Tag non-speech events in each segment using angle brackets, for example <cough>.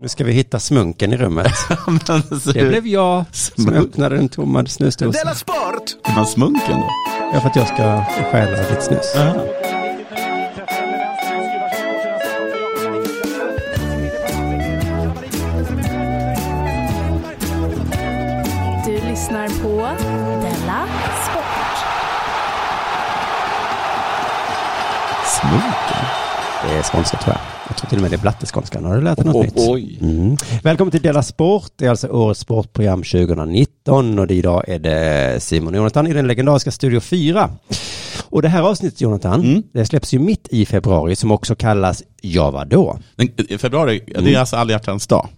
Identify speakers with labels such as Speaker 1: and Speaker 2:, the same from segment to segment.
Speaker 1: Nu ska vi hitta smunken i
Speaker 2: <laughs>
Speaker 1: rummet. Det blev jag som öppnade den tomma snusdosan.
Speaker 3: Della Sport!
Speaker 2: Man smunken då?
Speaker 1: Ja, för att jag ska stjäla ditt snus.
Speaker 4: Du lyssnar på Della Sport.
Speaker 2: Smunken?
Speaker 1: Det är skånska tror jag. Jag tror till och med det är blatteskånskan. Har du lärt dig något nytt?
Speaker 2: oj.
Speaker 1: Mm. Välkommen till Della Sport. Det är alltså årets sportprogram 2019 och det idag är det Simon och Jonathan i den legendariska Studio 4. Och det här avsnittet Jonathan,
Speaker 2: Mm.
Speaker 1: det släpps ju mitt i februari som också kallas Ja vadå?
Speaker 2: Den, i februari, det är alltså alla hjärtans dag.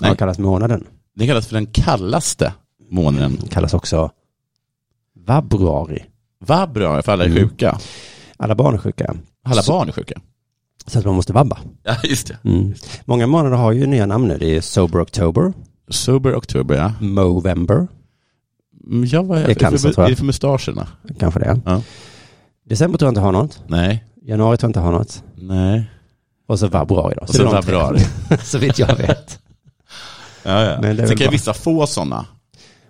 Speaker 2: Nej.
Speaker 1: Den kallas månaden.
Speaker 2: Det kallas för den kallaste månaden.
Speaker 1: Kallas också Vabruari.
Speaker 2: Vabruari, för alla är
Speaker 1: Mm.
Speaker 2: sjuka.
Speaker 1: Alla barn är sjuka.
Speaker 2: Alla
Speaker 1: Så-
Speaker 2: barn är sjuka.
Speaker 1: Så att man måste vabba.
Speaker 2: Ja, just det.
Speaker 1: Mm. Många månader har ju nya namn nu. Det är Sober October,
Speaker 2: Sober October, ja.
Speaker 1: Movember,
Speaker 2: Mm, Jag var,
Speaker 1: Det är cancer, tror jag.
Speaker 2: Är det för mustascherna?
Speaker 1: kanske det.
Speaker 2: Ja.
Speaker 1: December tror jag inte har något.
Speaker 2: Nej.
Speaker 1: Januari tror jag inte har något.
Speaker 2: Nej.
Speaker 1: Och så februari då.
Speaker 2: Och sen
Speaker 1: det är de tre.
Speaker 2: februari.
Speaker 1: <laughs> så vitt jag vet.
Speaker 2: Ja, ja.
Speaker 1: Men det är väl
Speaker 2: Sen kan ju
Speaker 1: bra.
Speaker 2: vissa få sådana.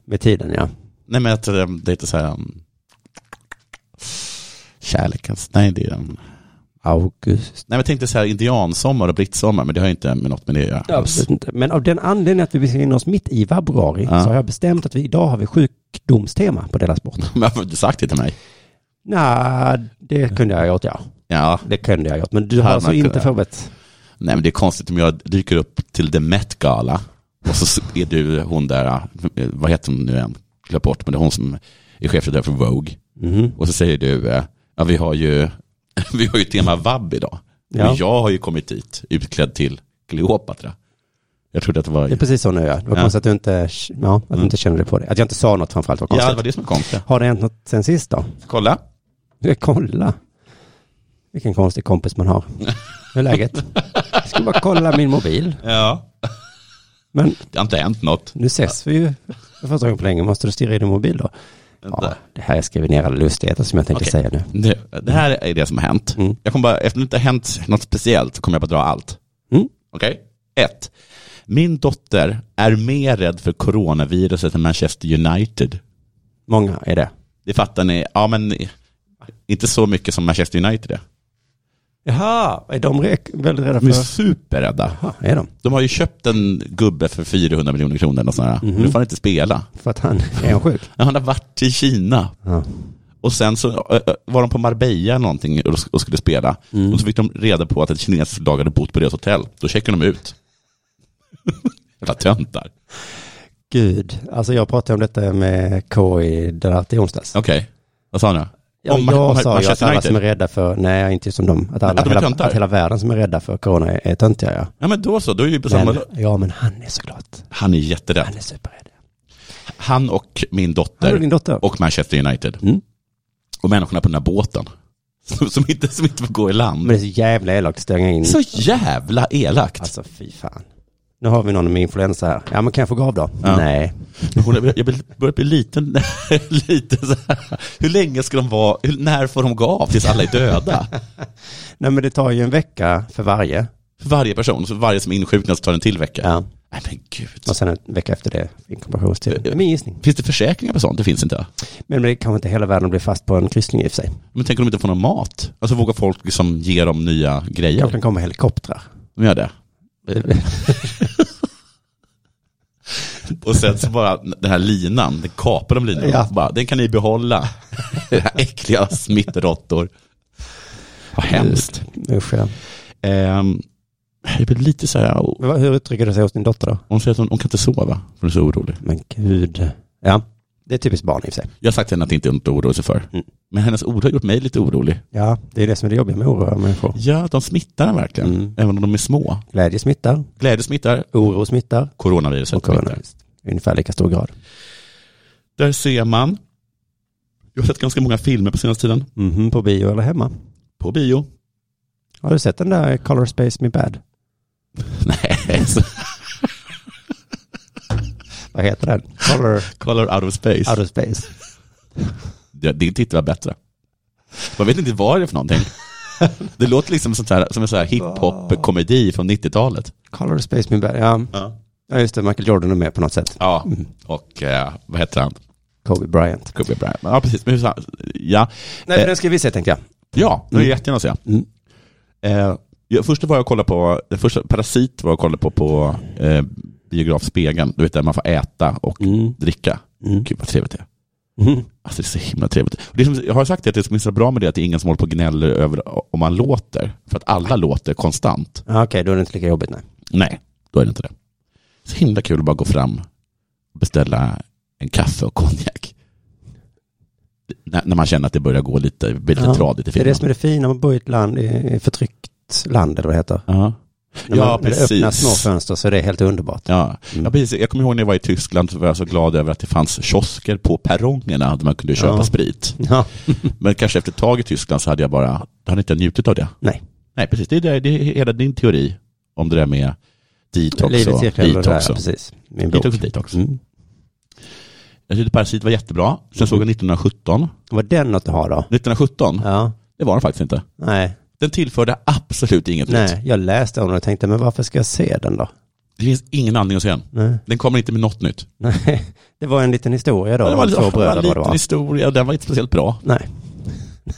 Speaker 1: Med tiden ja.
Speaker 2: Nej, men att eh, det är inte så här... um, Kärlekens... Nej, det är... um,
Speaker 1: August.
Speaker 2: Nej, men jag tänkte så här indiansommar och brittsommar, men det har ju inte med något med det att göra. <laughs>
Speaker 1: Absolut inte. Men av den anledningen att vi befinner oss mitt i februari
Speaker 2: Ja.
Speaker 1: så har jag bestämt att vi idag har vi sjukdomstema på Della Sport.
Speaker 2: Men varför har du sagt det till mig?
Speaker 1: Nej, det kunde jag ha gjort ja.
Speaker 2: Ja,
Speaker 1: Det kunde jag ha gjort. Men du har
Speaker 2: Hade
Speaker 1: alltså
Speaker 2: man kunnat.
Speaker 1: inte förberett.
Speaker 2: nej men det är konstigt om jag dyker upp till The Met Gala och så är du hon där, eh, vad heter hon nu än, glöm bort, men det är hon som är chefredaktör för Vogue.
Speaker 1: Mhm.
Speaker 2: Och så säger du, eh, ja vi har ju, <laughs> vi har ju tema vab idag.
Speaker 1: Ja.
Speaker 2: Och jag har ju kommit dit utklädd till Cleopatra. Jag trodde att det var...
Speaker 1: Det är precis så nu ja. Det var
Speaker 2: Ja.
Speaker 1: konstigt att du inte, ja, att du
Speaker 2: Mm.
Speaker 1: inte kände dig på det. Att jag inte sa något framförallt var
Speaker 2: Ja, det
Speaker 1: konstigt.
Speaker 2: var det som var konstigt.
Speaker 1: Har det hänt något sen sist då?
Speaker 2: Kolla.
Speaker 1: Ja, kolla. Vilken konstig kompis man har. Hur är läget? Jag skulle bara kolla min mobil.
Speaker 2: Ja.
Speaker 1: Men
Speaker 2: Det har inte hänt något.
Speaker 1: nu ses vi ju för första gången på länge. Måste du stirra i din mobil då? Ja, det här skriver ner alla lustigheter som jag tänkte
Speaker 2: Okej.
Speaker 1: säga nu.
Speaker 2: Det, det här är det som har hänt.
Speaker 1: Mm.
Speaker 2: Jag kommer bara, eftersom det inte har hänt något speciellt så kommer jag bara dra allt.
Speaker 1: Mm.
Speaker 2: Okej? Ett. Min dotter är mer rädd för coronaviruset än Manchester United.
Speaker 1: Många är det.
Speaker 2: Det fattar ni. Ja, men inte så mycket som Manchester United är.
Speaker 1: Jaha, är de re- väldigt rädda
Speaker 2: De är
Speaker 1: för...
Speaker 2: superrädda.
Speaker 1: Jaha, är de?
Speaker 2: De har ju köpt en gubbe för 400 miljoner kronor eller sådär.
Speaker 1: Mhm.
Speaker 2: Men Nu får han inte spela.
Speaker 1: För att han är en sjuk?
Speaker 2: Ja, Han har varit i Kina.
Speaker 1: Ja.
Speaker 2: Och sen så ö, ö, var de på Marbella eller någonting och och skulle spela.
Speaker 1: Mm.
Speaker 2: Och så fick de reda på att ett kinesiskt lag hade bott på deras hotell. Då checkade de ut. <laughs> Jävla töntar.
Speaker 1: Gud, alltså jag pratade om detta med K i Delarte i onsdags.
Speaker 2: Okej, vad sa han nu?
Speaker 1: Ja,
Speaker 2: Om-
Speaker 1: jag
Speaker 2: om
Speaker 1: sa ju att
Speaker 2: Manchester
Speaker 1: alla
Speaker 2: United.
Speaker 1: som är rädda för, nej inte som de, att, alla,
Speaker 2: Att de är
Speaker 1: hela,
Speaker 2: töntar?
Speaker 1: att hela världen som är rädda för corona är, är töntiga ja.
Speaker 2: Ja men då så, då är vi på samma...
Speaker 1: Men, ja men han är såklart,
Speaker 2: Han är jätterädd.
Speaker 1: han är superrädd.
Speaker 2: Han och min
Speaker 1: Han och
Speaker 2: dotter
Speaker 1: din dotter.
Speaker 2: och Manchester United.
Speaker 1: Mm.
Speaker 2: Och människorna på den här båten. <laughs> Som, som, inte, som inte får gå i
Speaker 1: Men
Speaker 2: land.
Speaker 1: det är så jävla elakt att stänga in.
Speaker 2: Så jävla elakt.
Speaker 1: Alltså fy fan. Nu har vi någon med influensa här. Ja men kan jag få gå av då?
Speaker 2: Ja.
Speaker 1: Nej.
Speaker 2: Hon är- Jag blir- börjar bli liten, <laughs> lite så här. Hur länge ska de vara, hur, när får de gå av tills alla är döda?
Speaker 1: Nej men det tar ju en vecka för varje.
Speaker 2: För varje person, så varje som insjuknas tar en till vecka.
Speaker 1: Ja.
Speaker 2: Nej men gud.
Speaker 1: Och sen en vecka efter det inkubationstid. Det är min gissning.
Speaker 2: Finns det försäkringar på sånt? Det finns inte.
Speaker 1: Men det kanske inte hela världen blir fast på en kryssning i och för sig.
Speaker 2: Men tänk om de inte får någon mat? Alltså vågar folk liksom ge dem nya
Speaker 1: Jag
Speaker 2: grejer?
Speaker 1: kan komma helikoptrar.
Speaker 2: De
Speaker 1: <laughs>
Speaker 2: gör det. Och sen så bara den här linan, den kapar de linan.
Speaker 1: Ja.
Speaker 2: Bara, den kan
Speaker 1: <laughs>
Speaker 2: ni behålla. Era äckliga smittråttor. Vad hemskt.
Speaker 1: Usch ja.
Speaker 2: Ehm, jag blir lite så här,
Speaker 1: Men vad- Hur uttrycker det sig hos din dotter då?
Speaker 2: Hon säger att hon, hon kan inte sova, för hon är så orolig.
Speaker 1: Men gud. Ja, det är typiskt barn i och för sig.
Speaker 2: Jag har sagt till henne att inte är något att oroa sig för.
Speaker 1: Mm.
Speaker 2: Men hennes oro har gjort mig lite orolig.
Speaker 1: Ja, det är det som är det jobbiga med oroliga människor.
Speaker 2: Ja, de smittar en verkligen.
Speaker 1: Mm.
Speaker 2: Även om de är små.
Speaker 1: Glädje smittar,
Speaker 2: Glädje smittar,
Speaker 1: oro smittar
Speaker 2: coronaviruset
Speaker 1: och
Speaker 2: smittar.
Speaker 1: coronavirus. I Ungefär lika stor grad.
Speaker 2: Där ser man. Jag har sett ganska många filmer på senaste tiden.
Speaker 1: Mhm, på bio eller hemma.
Speaker 2: På bio. <laughs>
Speaker 1: Har du sett den där Color Space Me Bad?
Speaker 2: Nej, alltså, så-
Speaker 1: Vad heter den? <laughs> Color
Speaker 2: Color out of space.
Speaker 1: Outer Space.
Speaker 2: Det- Din titt var bättre. Man vet inte vad det är för någonting. Det låter liksom sånt här, som en sån här hiphop-komedi från 90-talet.
Speaker 1: Color Space Min Bad, ja.
Speaker 2: Ja.
Speaker 1: ja just det, Michael Jordan är med på något sätt. Mm.
Speaker 2: Ja, och eh, vad heter han?
Speaker 1: Kobe Bryant.
Speaker 2: Kobe Bryant. Ja, precis. Men hur sa- Ja,
Speaker 1: Nej,
Speaker 2: Eh.
Speaker 1: men den ska vi se tänkte jag.
Speaker 2: ja det vill
Speaker 1: Mm.
Speaker 2: jag jättegärna se.
Speaker 1: Mm.
Speaker 2: Eh, ja, först var jag och kollade på, den första Parasit var jag och kollade på på eh, biografspegeln, du vet där man får äta och
Speaker 1: Mm.
Speaker 2: dricka.
Speaker 1: Mm.
Speaker 2: Gud vad trevligt det är.
Speaker 1: Mm.
Speaker 2: Alltså det är så himla trevligt. Och Det är som, jag har sagt det, att det som är så bra med det är att det är ingen som håller på och gnäller över om man låter. För att alla låter konstant.
Speaker 1: Ja, Okej, då är det inte lika jobbigt nej.
Speaker 2: Nej, då är det inte det. Så himla kul att bara gå fram och beställa en kaffe och konjak. När, när man känner att det börjar gå lite, bli lite
Speaker 1: Ja,
Speaker 2: tradigt
Speaker 1: Det
Speaker 2: i
Speaker 1: är
Speaker 2: filmen.
Speaker 1: det som är det fina med att bo i ett land, i i förtryckt land eller vad det heter.
Speaker 2: Ja,
Speaker 1: När
Speaker 2: Ja,
Speaker 1: man, När det öppnar
Speaker 2: precis.
Speaker 1: små fönster så är det helt underbart.
Speaker 2: ja.
Speaker 1: Mm.
Speaker 2: ja precis. Jag kommer ihåg när jag var i Tyskland så var jag så glad över att det fanns kiosker på perrongerna där man kunde köpa
Speaker 1: Ja.
Speaker 2: sprit.
Speaker 1: Ja,
Speaker 2: Men kanske efter ett tag i Tyskland så hade jag bara, då hade inte jag njutit av det.
Speaker 1: nej.
Speaker 2: Nej, precis. Det är, det, det är hela din teori om det där med detox
Speaker 1: Livet
Speaker 2: och
Speaker 1: cirklar runt det där,
Speaker 2: detox.
Speaker 1: ja,
Speaker 2: Och
Speaker 1: precis. Min bok.
Speaker 2: detox och detox.
Speaker 1: Mm.
Speaker 2: Jag tyckte Parasit var jättebra. Sen såg
Speaker 1: Mm.
Speaker 2: jag 1917.
Speaker 1: Var den något att ha då?
Speaker 2: 1917?
Speaker 1: Ja,
Speaker 2: Det var den faktiskt inte.
Speaker 1: nej.
Speaker 2: Den tillförde absolut inget nytt.
Speaker 1: Nej, jag läste om den och tänkte, men varför ska jag se den då?
Speaker 2: Det finns ingen anledning att se den.
Speaker 1: Nej,
Speaker 2: Den kommer inte med något nytt.
Speaker 1: nej. <laughs> Det var en liten historia då,
Speaker 2: Ja, det
Speaker 1: om
Speaker 2: var,
Speaker 1: två
Speaker 2: det var
Speaker 1: bröder
Speaker 2: en
Speaker 1: vad det
Speaker 2: liten
Speaker 1: var.
Speaker 2: historia, den var inte speciellt bra.
Speaker 1: Nej.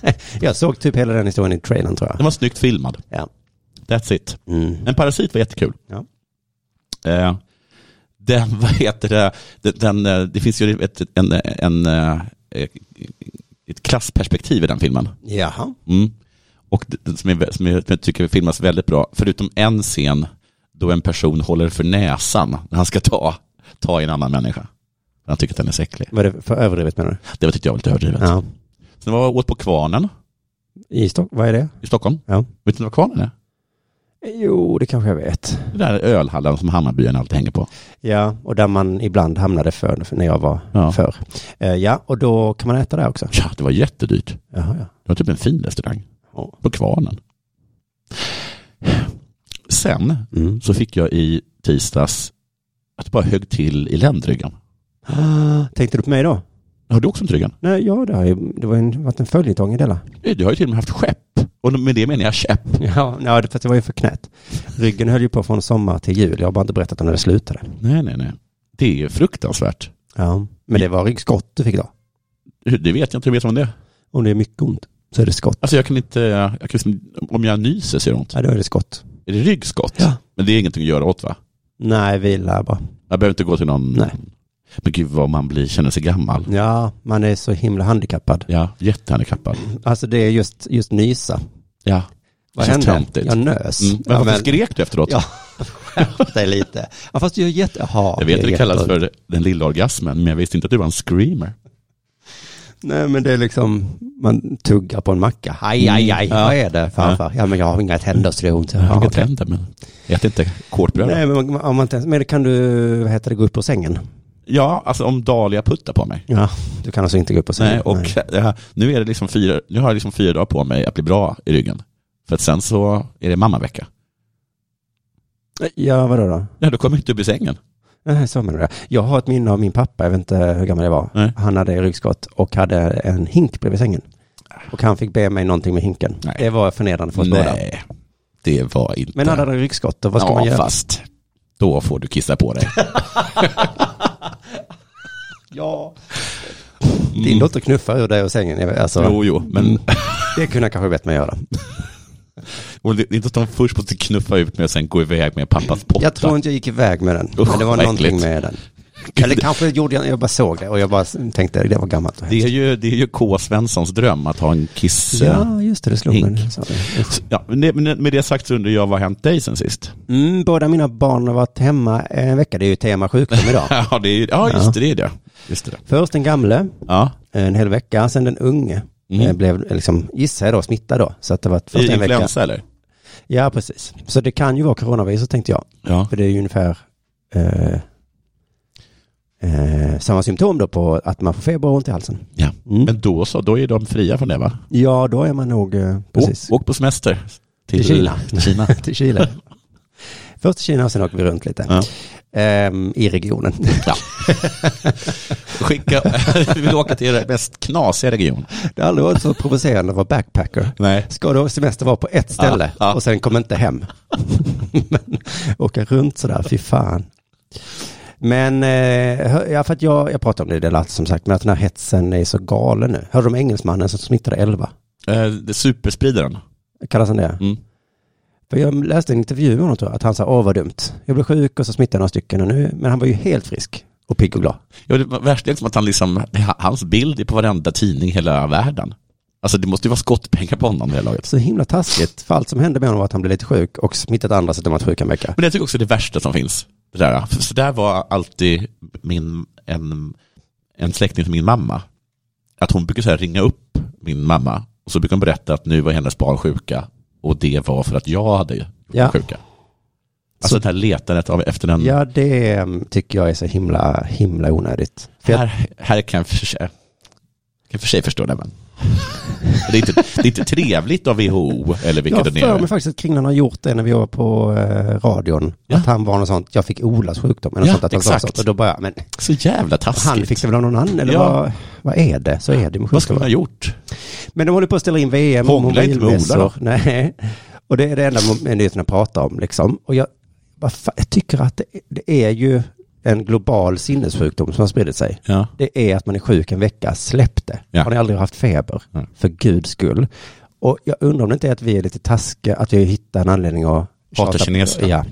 Speaker 1: Nej, jag såg typ hela den historien i trailern tror jag.
Speaker 2: Den var snyggt filmad.
Speaker 1: Ja.
Speaker 2: That's it.
Speaker 1: Mm.
Speaker 2: Men Parasit var jättekul.
Speaker 1: Ja.
Speaker 2: Eh, den, <laughs> vad heter det, den, den, eh, det finns ju ett, en, en, eh, ett klassperspektiv i den filmen.
Speaker 1: Jaha.
Speaker 2: Mm. Och det, som, är, som, är, som jag tycker filmas väldigt bra, förutom en scen då en person håller för näsan när han ska ta, ta i en annan människa. Han tycker att den är så äcklig.
Speaker 1: Var det för överdrivet menar du?
Speaker 2: Det var- tyckte jag var lite överdrivet.
Speaker 1: Ja.
Speaker 2: Sen var jag åt på Kvarnen
Speaker 1: I Stockholm, vad är det?
Speaker 2: i Stockholm.
Speaker 1: Ja.
Speaker 2: Vet du vad Kvarnen är?
Speaker 1: Jo, det kanske jag vet.
Speaker 2: Det där är ölhallen som Hammarbyarna alltid hänger på.
Speaker 1: Ja, och där man ibland hamnade för för när jag var
Speaker 2: Ja.
Speaker 1: förr. Eh, ja, och då kan man äta där också.
Speaker 2: Ja, det var jättedyrt.
Speaker 1: Jaha, ja.
Speaker 2: Det var typ en fin restaurang
Speaker 1: Ja.
Speaker 2: på Kvarnen. Sen
Speaker 1: Mm.
Speaker 2: så fick jag i tisdags att det bara högg till i ländryggen.
Speaker 1: Ah, tänkte du på mig då?
Speaker 2: Har du också ont i ryggen?
Speaker 1: Nej, ja, det, har ju, det var ju en, varit en följetong i Della.
Speaker 2: Eh, Du har ju till och med haft skepp. Och med det menar jag käpp.
Speaker 1: <laughs> Ja, nej, det- för att det var ju för knät. Ryggen höll ju på från sommar till jul. Jag har bara inte berättat när det slutade.
Speaker 2: Nej, nej, nej. Det är ju fruktansvärt.
Speaker 1: Ja, men det var ryggskott du fick då.
Speaker 2: Hur- Det vet jag inte, hur vet man det?
Speaker 1: Om det är mycket ont så är det skott.
Speaker 2: Alltså jag kan inte, jag kan liksom, om jag nyser så gör det ont.
Speaker 1: Ja, då är det skott.
Speaker 2: Är det ryggskott?
Speaker 1: Ja.
Speaker 2: Men det är ingenting att göra åt va?
Speaker 1: Nej, vila bara.
Speaker 2: Jag behöver inte gå till någon...
Speaker 1: Nej.
Speaker 2: Men gud vad man blir, känner sig gammal.
Speaker 1: Ja, man är så himla handikappad.
Speaker 2: Ja, jättehandikappad.
Speaker 1: Alltså det är just, just nysa.
Speaker 2: Ja.
Speaker 1: Vad
Speaker 2: Känns
Speaker 1: hände?
Speaker 2: töntigt.
Speaker 1: Jag nös.
Speaker 2: Mm. Men
Speaker 1: Ja,
Speaker 2: varför skrek du efteråt?
Speaker 1: Ja, skärp dig lite. <laughs> Ja, fast du är jätte... Jaha,
Speaker 2: jag vet att
Speaker 1: är
Speaker 2: det kallas
Speaker 1: jätteont.
Speaker 2: för den lilla orgasmen, men jag visste inte att du var en screamer.
Speaker 1: Nej, men det är liksom, man tuggar på en macka. Aj, aj, aj,
Speaker 2: Mm. Ja.
Speaker 1: vad är det farfar? Ja, men jag har inga tänder så det gör ont.
Speaker 2: Jag har
Speaker 1: Ja,
Speaker 2: inga
Speaker 1: okej.
Speaker 2: tänder, men ät inte kortbröd.
Speaker 1: Nej,
Speaker 2: då.
Speaker 1: men, man- om man inte, ens- men kan du, vad heter det, gå upp ur sängen?
Speaker 2: Ja, alltså om Dahlia puttar på mig.
Speaker 1: Ja, du kan alltså inte gå upp ur sängen.
Speaker 2: Nej, och Det här, nu, är det liksom fyra, nu har jag liksom fyra dagar på mig att bli bra i ryggen. För att sen så är det mammavecka.
Speaker 1: Nej. Ja, vadå då?
Speaker 2: Nej, då kommer jag inte upp i sängen.
Speaker 1: Nej, så menar jag. Jag har ett minne av min pappa, jag vet inte hur gammal jag var.
Speaker 2: Nej.
Speaker 1: Han hade ryggskott och hade en hink bredvid sängen. Och han fick be mig någonting med hinken.
Speaker 2: Ah. Nej.
Speaker 1: Det var förnedrande för oss båda.
Speaker 2: Nej, det var inte...
Speaker 1: Men hade han ryggskott, då, vad ska
Speaker 2: ja,
Speaker 1: man göra?
Speaker 2: fast då får du kissa på dig.
Speaker 1: Ja. Din dotter knuffar ur dig och sängen. jag vet, Alltså,
Speaker 2: <laughs> Mm. Jo, jo, men
Speaker 1: Det kunde jag kanske bett mig göra.
Speaker 2: <laughs> och det, det är inte att de först måste knuffa ut mig och sen gå iväg med pappas potta.
Speaker 1: Jag tror inte jag gick iväg med den. men det var
Speaker 2: vad
Speaker 1: någonting
Speaker 2: äckligt.
Speaker 1: med den. Eller kanske gjorde jag, jag bara såg det och jag bara tänkte det var gammalt och
Speaker 2: Det är
Speaker 1: hemskt.
Speaker 2: ju, det är ju K. Svenssons dröm att ha en kiss... eh,
Speaker 1: Ja, just det, det slog mig.
Speaker 2: Hink. Ja, men det- men med det sagt så undrar jag vad har hänt dig sen sist?
Speaker 1: Mm, båda mina barn har varit hemma en vecka. Det är ju tema sjukdom <laughs> idag.
Speaker 2: Ja, det är, ju- ja just det, det är det. Just det.
Speaker 1: Först den gamle, eh,
Speaker 2: Ja.
Speaker 1: en hel vecka. Sen den unge.
Speaker 2: Mm.
Speaker 1: Eh, Blev liksom, gissar jag då, smittad då. Så att det var först
Speaker 2: I
Speaker 1: en vecka.
Speaker 2: influensa eller?
Speaker 1: Ja, precis. Så det kan ju vara coronavirus tänkte jag.
Speaker 2: Ja.
Speaker 1: För det är ju ungefär eh, eh, samma symptom då på att man får feber och ont i halsen.
Speaker 2: ja.
Speaker 1: Mm.
Speaker 2: Men då så, då är de fria från det va?
Speaker 1: ja, då är man nog eh, precis
Speaker 2: Å- Åk på semester.
Speaker 1: <laughs> Till Kina.
Speaker 2: Kina.
Speaker 1: till Chile. Först till Kina och sen åker vi runt lite.
Speaker 2: Ja.
Speaker 1: ehm, i regionen.
Speaker 2: Ja. <laughs> Skicka, <laughs> vi vill åka till er mest knasiga region.
Speaker 1: Det har aldrig varit så provocerande att vara backpacker.
Speaker 2: Nej.
Speaker 1: Ska då semester vara på ett ställe
Speaker 2: Ja, ja.
Speaker 1: och sen komma inte hem. <laughs> Men åka runt sådär, fy fan. Men, eh, hör- ja, för att jag, jag pratade om det i Delat som sagt, men att den här hetsen är så galen nu. Hörde du om engelsmannen som smittade elva?
Speaker 2: Eh, det är superspridaren.
Speaker 1: Kallas han det?
Speaker 2: Mm.
Speaker 1: För jag läste en intervju med honom tror jag, att han sa, åh vad dumt. Jag blev sjuk och så smittade jag några stycken och nu, men han var ju helt frisk och pigg och glad.
Speaker 2: Ja, det var värst liksom att han liksom, hans bild är på varenda tidning i hela världen. Alltså det måste ju vara skottpengar på honom i det här laget.
Speaker 1: Så himla taskigt, för allt som hände med honom var att han blev lite sjuk och smittat andra så att de varit sjuka en vecka.
Speaker 2: Men jag tycker också det är det värsta som finns. Det där. För Så där var alltid min, en, en släkting till min mamma. Att hon brukar så här ringa upp min mamma och så brukar hon berätta att nu var hennes barn sjuka och det var för att jag hade gjort
Speaker 1: Ja.
Speaker 2: dem sjuka. Alltså
Speaker 1: Så-
Speaker 2: det här letandet av, efter den,
Speaker 1: Ja, det mm, tycker jag är så himla, himla onödigt. För jag,
Speaker 2: här, här kan jag för sig, kan jag för sig förstå det. Men. det, är inte, det är inte trevligt av WHO eller
Speaker 1: jag
Speaker 2: vilka
Speaker 1: har
Speaker 2: det nu
Speaker 1: för mig
Speaker 2: är.
Speaker 1: faktiskt att Kringlan har gjort det när vi var på eh, radion.
Speaker 2: Ja.
Speaker 1: Att han var något sånt, jag fick Olas sjukdom eller något
Speaker 2: Ja,
Speaker 1: sånt. Att han sa
Speaker 2: exakt.
Speaker 1: sånt. Och då bara, men
Speaker 2: Så jävla taskigt.
Speaker 1: han fick det väl av någon annan eller
Speaker 2: Ja.
Speaker 1: vad, vad är det? Så är det med
Speaker 2: Vad skulle man
Speaker 1: sjukdomar.
Speaker 2: ha gjort?
Speaker 1: Men de håller på att ställa in VM och
Speaker 2: Hångla inte med Ola
Speaker 1: mobilmässor. <laughs>
Speaker 2: då.
Speaker 1: Nej, och det är det enda mo- nyheterna pratar om liksom. Och jag, vad fan, jag tycker att det, det är ju en global sinnessjukdom som har spridit sig.
Speaker 2: Ja.
Speaker 1: det är att man är sjuk en vecka, släpp det.
Speaker 2: Ja.
Speaker 1: Har ni aldrig haft feber?
Speaker 2: Nej.
Speaker 1: För guds skull. Och jag undrar om det inte är att vi är lite taskiga, att vi hittar en anledning att
Speaker 2: Hatar
Speaker 1: tjata-
Speaker 2: kineser.
Speaker 1: Ja.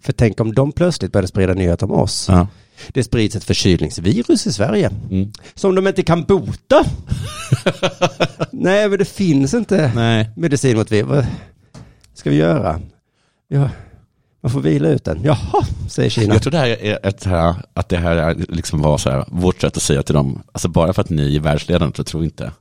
Speaker 1: För tänk om de plötsligt började sprida nyheter om oss.
Speaker 2: Ja.
Speaker 1: Det sprids ett förkylningsvirus i Sverige.
Speaker 2: Mm.
Speaker 1: Som de inte kan
Speaker 2: <laughs>
Speaker 1: bota. Nej, men det finns inte
Speaker 2: Nej.
Speaker 1: medicin mot virus. Vad ska vi göra? Ja, man får vila ut den. Jaha, säger Kina.
Speaker 2: Jag tror det här är ett, här- att det här är liksom var så här, vårt sätt att säga till dem, alltså bara för att ni är världsledande så tror vi inte att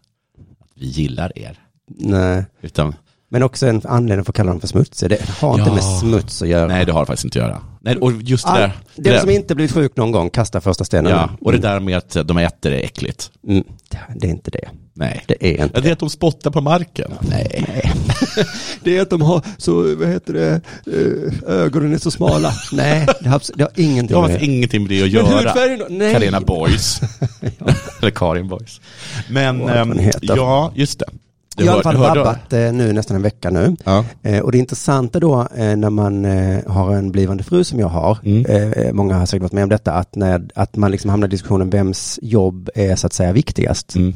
Speaker 2: vi gillar er.
Speaker 1: Nej.
Speaker 2: Utan,
Speaker 1: Men också en anledning för att kalla dem för smutsiga. Det har inte
Speaker 2: Ja.
Speaker 1: med smuts att göra.
Speaker 2: nej det har det faktiskt inte att göra. Nej, och just det
Speaker 1: All,
Speaker 2: där.
Speaker 1: det
Speaker 2: där.
Speaker 1: som inte blivit sjuk någon gång, kasta första stenen.
Speaker 2: ja, och det där med att de äter är äckligt.
Speaker 1: Mm. Det är inte det.
Speaker 2: Nej.
Speaker 1: Det är inte
Speaker 2: Ja, Det är att de spottar på marken.
Speaker 1: Nej. Det är att de har så, vad heter det, eh, ögonen är så smala. <laughs> Nej, det har, abs- det har
Speaker 2: Det
Speaker 1: ingenting
Speaker 2: har
Speaker 1: med
Speaker 2: faktiskt
Speaker 1: det.
Speaker 2: ingenting med det att
Speaker 1: Men
Speaker 2: göra.
Speaker 1: hudfärgen då? Nej.
Speaker 2: Karina Boys.
Speaker 1: <laughs>
Speaker 2: Eller Karin Boys. Men,
Speaker 1: Vad hon
Speaker 2: ehm,
Speaker 1: heter.
Speaker 2: ja, just det. Du
Speaker 1: Jag har i
Speaker 2: hör-
Speaker 1: alla fall
Speaker 2: du hörde-
Speaker 1: vabbat eh, nu nästan en vecka nu.
Speaker 2: Ja.
Speaker 1: Eh, och det intressanta då eh, när man eh, har en blivande fru som jag har,
Speaker 2: Mm.
Speaker 1: eh, många har säkert varit med om detta, att, när, att man liksom hamnar i diskussionen vems jobb är så att säga viktigast.
Speaker 2: Mm.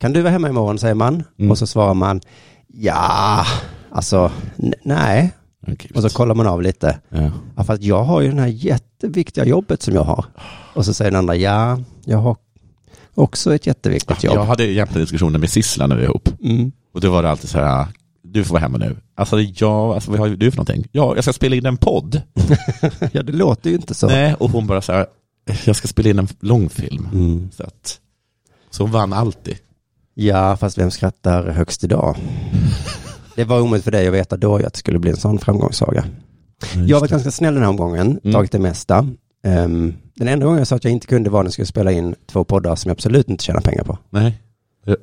Speaker 1: Kan du vara hemma imorgon, säger man.
Speaker 2: Mm.
Speaker 1: Och så svarar man, ja, alltså, n- nej.
Speaker 2: Okej,
Speaker 1: Och så kollar man av lite.
Speaker 2: ja.
Speaker 1: Ja, för att jag har ju det här jätteviktiga jobbet som jag har. Och så säger den andra, ja, jag har också ett jätteviktigt
Speaker 2: Jag
Speaker 1: jobb.
Speaker 2: hade egentligen diskussioner med Sissela när vi var ihop.
Speaker 1: Mm. <laughs>
Speaker 2: Och då var det alltid så här, du får vara hemma nu. Alltså, ja, alltså vad har du för någonting? Ja, jag ska spela in en podd.
Speaker 1: Ja, det låter ju inte så.
Speaker 2: Nej, och hon bara så här, jag ska spela in en långfilm.
Speaker 1: Mm.
Speaker 2: Så, att, så hon vann alltid.
Speaker 1: Ja, fast vem skrattar högst
Speaker 2: <laughs>
Speaker 1: idag? Det var omöjligt för dig att veta då ju att det skulle bli en sån framgångssaga. Jag var ganska snäll den här omgången,
Speaker 2: Mm.
Speaker 1: tagit det mesta. Ehm, den enda gången jag sa att jag inte kunde var när jag skulle spela in två poddar som jag absolut inte tjänar pengar på.
Speaker 2: Nej, <laughs>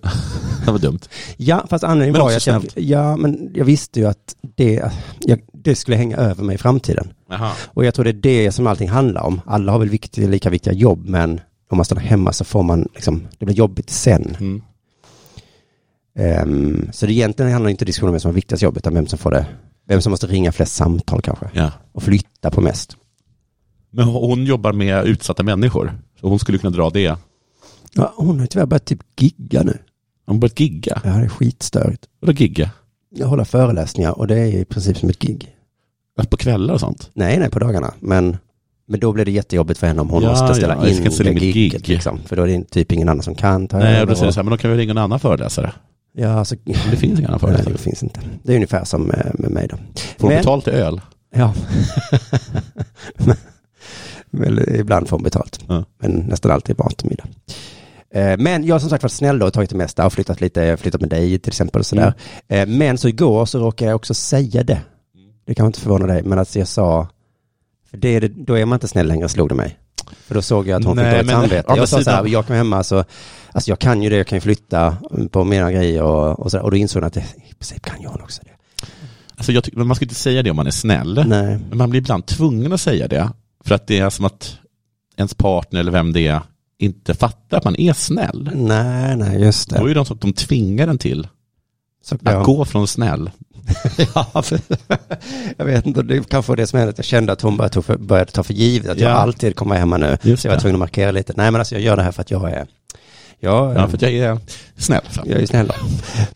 Speaker 2: det var dumt.
Speaker 1: Ja, fast anledningen
Speaker 2: Men
Speaker 1: var ju
Speaker 2: också
Speaker 1: att jag, ja, men jag visste ju att det, jag, det skulle hänga över mig i framtiden.
Speaker 2: Jaha.
Speaker 1: Och jag tror det är det som allting handlar om. Alla har väl viktiga, lika viktiga jobb, men om man stannar hemma så får man liksom, det blir jobbigt sen.
Speaker 2: Mm.
Speaker 1: Ehm, så det egentligen handlar inte diskussionen om vem som har viktigast jobb, utan vem som får det, vem som måste ringa flest samtal kanske.
Speaker 2: Ja.
Speaker 1: Och flytta på mest.
Speaker 2: Men hon jobbar med utsatta människor. Så hon skulle kunna dra det.
Speaker 1: Ja, hon har tyvärr börjat typ gigga nu.
Speaker 2: Hon börjat gigga.
Speaker 1: Det här är skitstörigt.
Speaker 2: Vadå gigga?
Speaker 1: Jag håller föreläsningar och det är i princip som ett gig.
Speaker 2: På kvällar och sånt?
Speaker 1: Nej, nej, på dagarna. Men, men då blir det jättejobbigt för henne om hon
Speaker 2: Ja,
Speaker 1: ska
Speaker 2: ja,
Speaker 1: ställa
Speaker 2: jag
Speaker 1: in
Speaker 2: ska inte ställa
Speaker 1: det
Speaker 2: in mitt
Speaker 1: giget.
Speaker 2: gig.
Speaker 1: Liksom. För då är det typ ingen annan som kan ta
Speaker 2: Nej,
Speaker 1: över
Speaker 2: och då säger
Speaker 1: och-
Speaker 2: jag så här, men då kan vi ringa en annan föreläsare.
Speaker 1: Ja, så,
Speaker 2: Men det finns ingen annan
Speaker 1: Nej,
Speaker 2: föreläsare.
Speaker 1: det finns inte. Det är ungefär som eh, med mig då.
Speaker 2: Får de
Speaker 1: Men-
Speaker 2: betalt i öl?
Speaker 1: Ja. <laughs> Väl, eh, ibland får man betalt.
Speaker 2: Ja.
Speaker 1: Men nästan alltid mat och middag. Eh, Men jag har som sagt varit snäll då och tagit det mesta och flyttat lite, flyttat med dig till exempel och sådär.
Speaker 2: Mm.
Speaker 1: Eh, Men så igår så råkade jag också säga det. Det kan inte förvåna dig, men att jag sa, för det är det, då är man inte snäll längre, slog det mig. För då såg jag att hon
Speaker 2: Nej,
Speaker 1: fick dåligt
Speaker 2: men-
Speaker 1: samvete.
Speaker 2: å andra
Speaker 1: Jag sa så här,
Speaker 2: sidan-
Speaker 1: jag kommer hemma så, alltså jag kan ju det, jag kan ju flytta på mina grejer och, och sådär. Och då insåg hon att det, i princip kan jag också det.
Speaker 2: Alltså jag tycker- men man ska inte säga det om man är snäll.
Speaker 1: Nej.
Speaker 2: Men man blir ibland tvungen att säga det. För att det är som att ens partner eller vem det är inte fattar att man är snäll.
Speaker 1: Nej, nej, just
Speaker 2: Då är
Speaker 1: det.
Speaker 2: det de som de tvingar den till.
Speaker 1: Så,
Speaker 2: Att
Speaker 1: ja.
Speaker 2: gå från snäll.
Speaker 1: <laughs> Ja, för, jag vet inte, det kanske var det som hände, att jag kände att hon började ta för, började ta för givet att
Speaker 2: Ja.
Speaker 1: jag alltid kommer hemma nu.
Speaker 2: Just
Speaker 1: så jag var
Speaker 2: det.
Speaker 1: tvungen att markera lite. Nej, men alltså jag gör det här för att jag är, jag,
Speaker 2: Ja, för att jag är snäll.
Speaker 1: jag är ju snäll. då.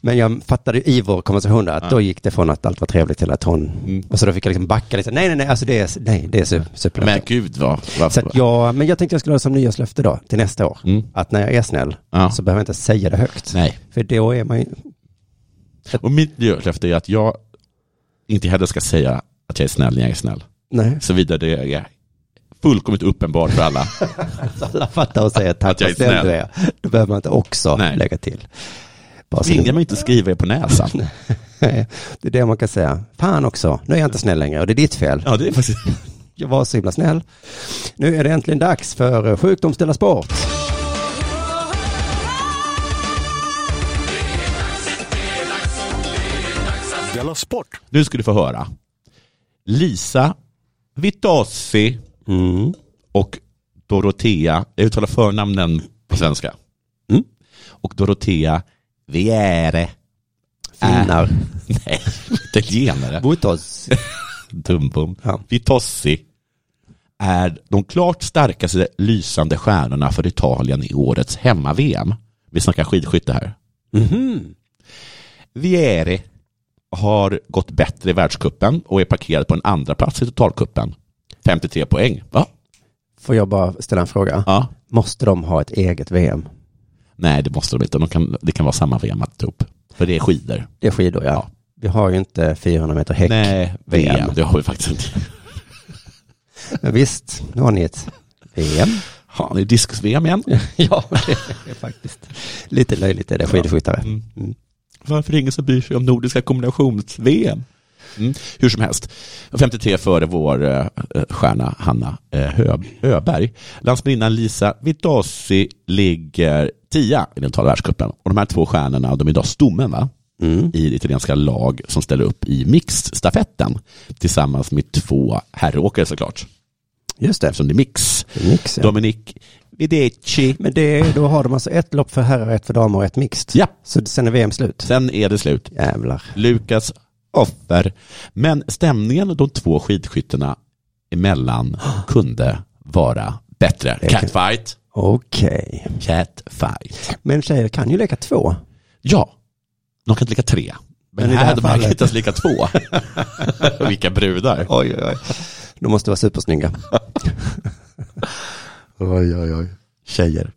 Speaker 1: Men jag fattade ju i vår konversation där, att då gick det från att allt var trevligt till att hon,
Speaker 2: Mm.
Speaker 1: och så då fick jag liksom backa lite, nej, nej, nej, alltså det är, nej, det är su- superlätt.
Speaker 2: Men gud vad... vad
Speaker 1: Så att jag, men jag tänkte jag skulle ha det som nyårslöfte då, till nästa år.
Speaker 2: Mm.
Speaker 1: Att när jag är snäll
Speaker 2: Ja.
Speaker 1: så behöver jag inte säga det högt.
Speaker 2: Nej.
Speaker 1: För då är man ju,
Speaker 2: Och mitt nyårslöfte är att jag inte heller ska säga att jag är snäll när jag är snäll.
Speaker 1: nej,
Speaker 2: Såvida det är fullkomligt uppenbart
Speaker 1: <laughs>
Speaker 2: för alla.
Speaker 1: så alla fattar och säger tack
Speaker 2: Att jag
Speaker 1: vad
Speaker 2: är
Speaker 1: snäll
Speaker 2: snäll.
Speaker 1: du är. Då behöver man inte också
Speaker 2: Nej.
Speaker 1: lägga till. Bara så <laughs>
Speaker 2: Tvinga mig inte skriva er på näsan.
Speaker 1: det, det är det man kan säga. Fan också, nu är jag inte snäll längre och det är ditt fel.
Speaker 2: Ja, det är faktiskt...
Speaker 1: Jag var så himla snäll. Nu är det äntligen dags för eh, Sjukdom ställas bort.
Speaker 3: Della Sport!
Speaker 2: Nu ska du få höra. Lisa Vitossi
Speaker 1: Mm.
Speaker 2: och Dorotea, jag uttalar förnamnen på svenska.
Speaker 1: Mm.
Speaker 2: Och Dorotea Viere. Äh.
Speaker 1: Finnar.
Speaker 2: Nej, italienare.
Speaker 1: Botos.
Speaker 2: Dumbom.
Speaker 1: Ja.
Speaker 2: Vitossi är de klart starkaste lysande stjärnorna för Italien i årets hemma-VM. Vi snackar skidskytte här.
Speaker 1: <laughs> Mhm.
Speaker 2: Vieri har gått bättre i världskuppen och är parkerad på en andra plats i totalkuppen. 53 poäng. Va?
Speaker 1: Får jag bara ställa en fråga?
Speaker 2: Ja.
Speaker 1: Måste de ha ett eget VM?
Speaker 2: Nej, det måste de inte. De kan, det kan vara samma VM alltihop. För det är skidor.
Speaker 1: Det är skidor, ja.
Speaker 2: Ja.
Speaker 1: Vi har ju inte 400 meter häck.
Speaker 2: Nej,
Speaker 1: VM.
Speaker 2: VM. Det har vi faktiskt inte.
Speaker 1: Men visst, nu har ni ett
Speaker 2: <laughs>
Speaker 1: VM.
Speaker 2: Ja, det är diskus-VM <laughs> igen.
Speaker 1: ja, det är faktiskt. Lite löjligt är det, skidskyttare.
Speaker 2: Varför är det ingen som bryr sig om nordiska kombinations-VM? Mm. Hur som helst, 53 före vår eh, eh, stjärna Hanna eh, Hö- Öberg. Landsbrinnan Lisa Vitossi ligger tia i den totala världscupen. Och de här två stjärnorna, de är idag stommen va?
Speaker 1: Mm.
Speaker 2: i det italienska lag som ställer upp i mixstafetten tillsammans med två herråkare såklart,
Speaker 1: Just det.
Speaker 2: eftersom det är mix.
Speaker 1: Mix, ja.
Speaker 2: Dominic Videci.
Speaker 1: Men det, då har de alltså ett lopp för herrar, ett för damer och ett mixt.
Speaker 2: Ja,
Speaker 1: Så sen är VM slut.
Speaker 2: sen är det slut.
Speaker 1: Jävlar.
Speaker 2: Lukas offer. Men stämningen de två skidskyttarna emellan kunde vara bättre.
Speaker 1: Det kan-
Speaker 2: Catfight.
Speaker 1: Okej.
Speaker 2: Catfight.
Speaker 1: Men tjejer kan ju leka två.
Speaker 2: Ja, de kan inte lika tre. Men,
Speaker 1: Men i det
Speaker 2: här,
Speaker 1: här
Speaker 2: de här kan
Speaker 1: fallet-
Speaker 2: inte ens lika
Speaker 1: <laughs>
Speaker 2: två. Vilka brudar.
Speaker 1: Oj, oj, oj. De måste vara supersnygga.
Speaker 2: <laughs> Oj, oj, oj. Tjejer.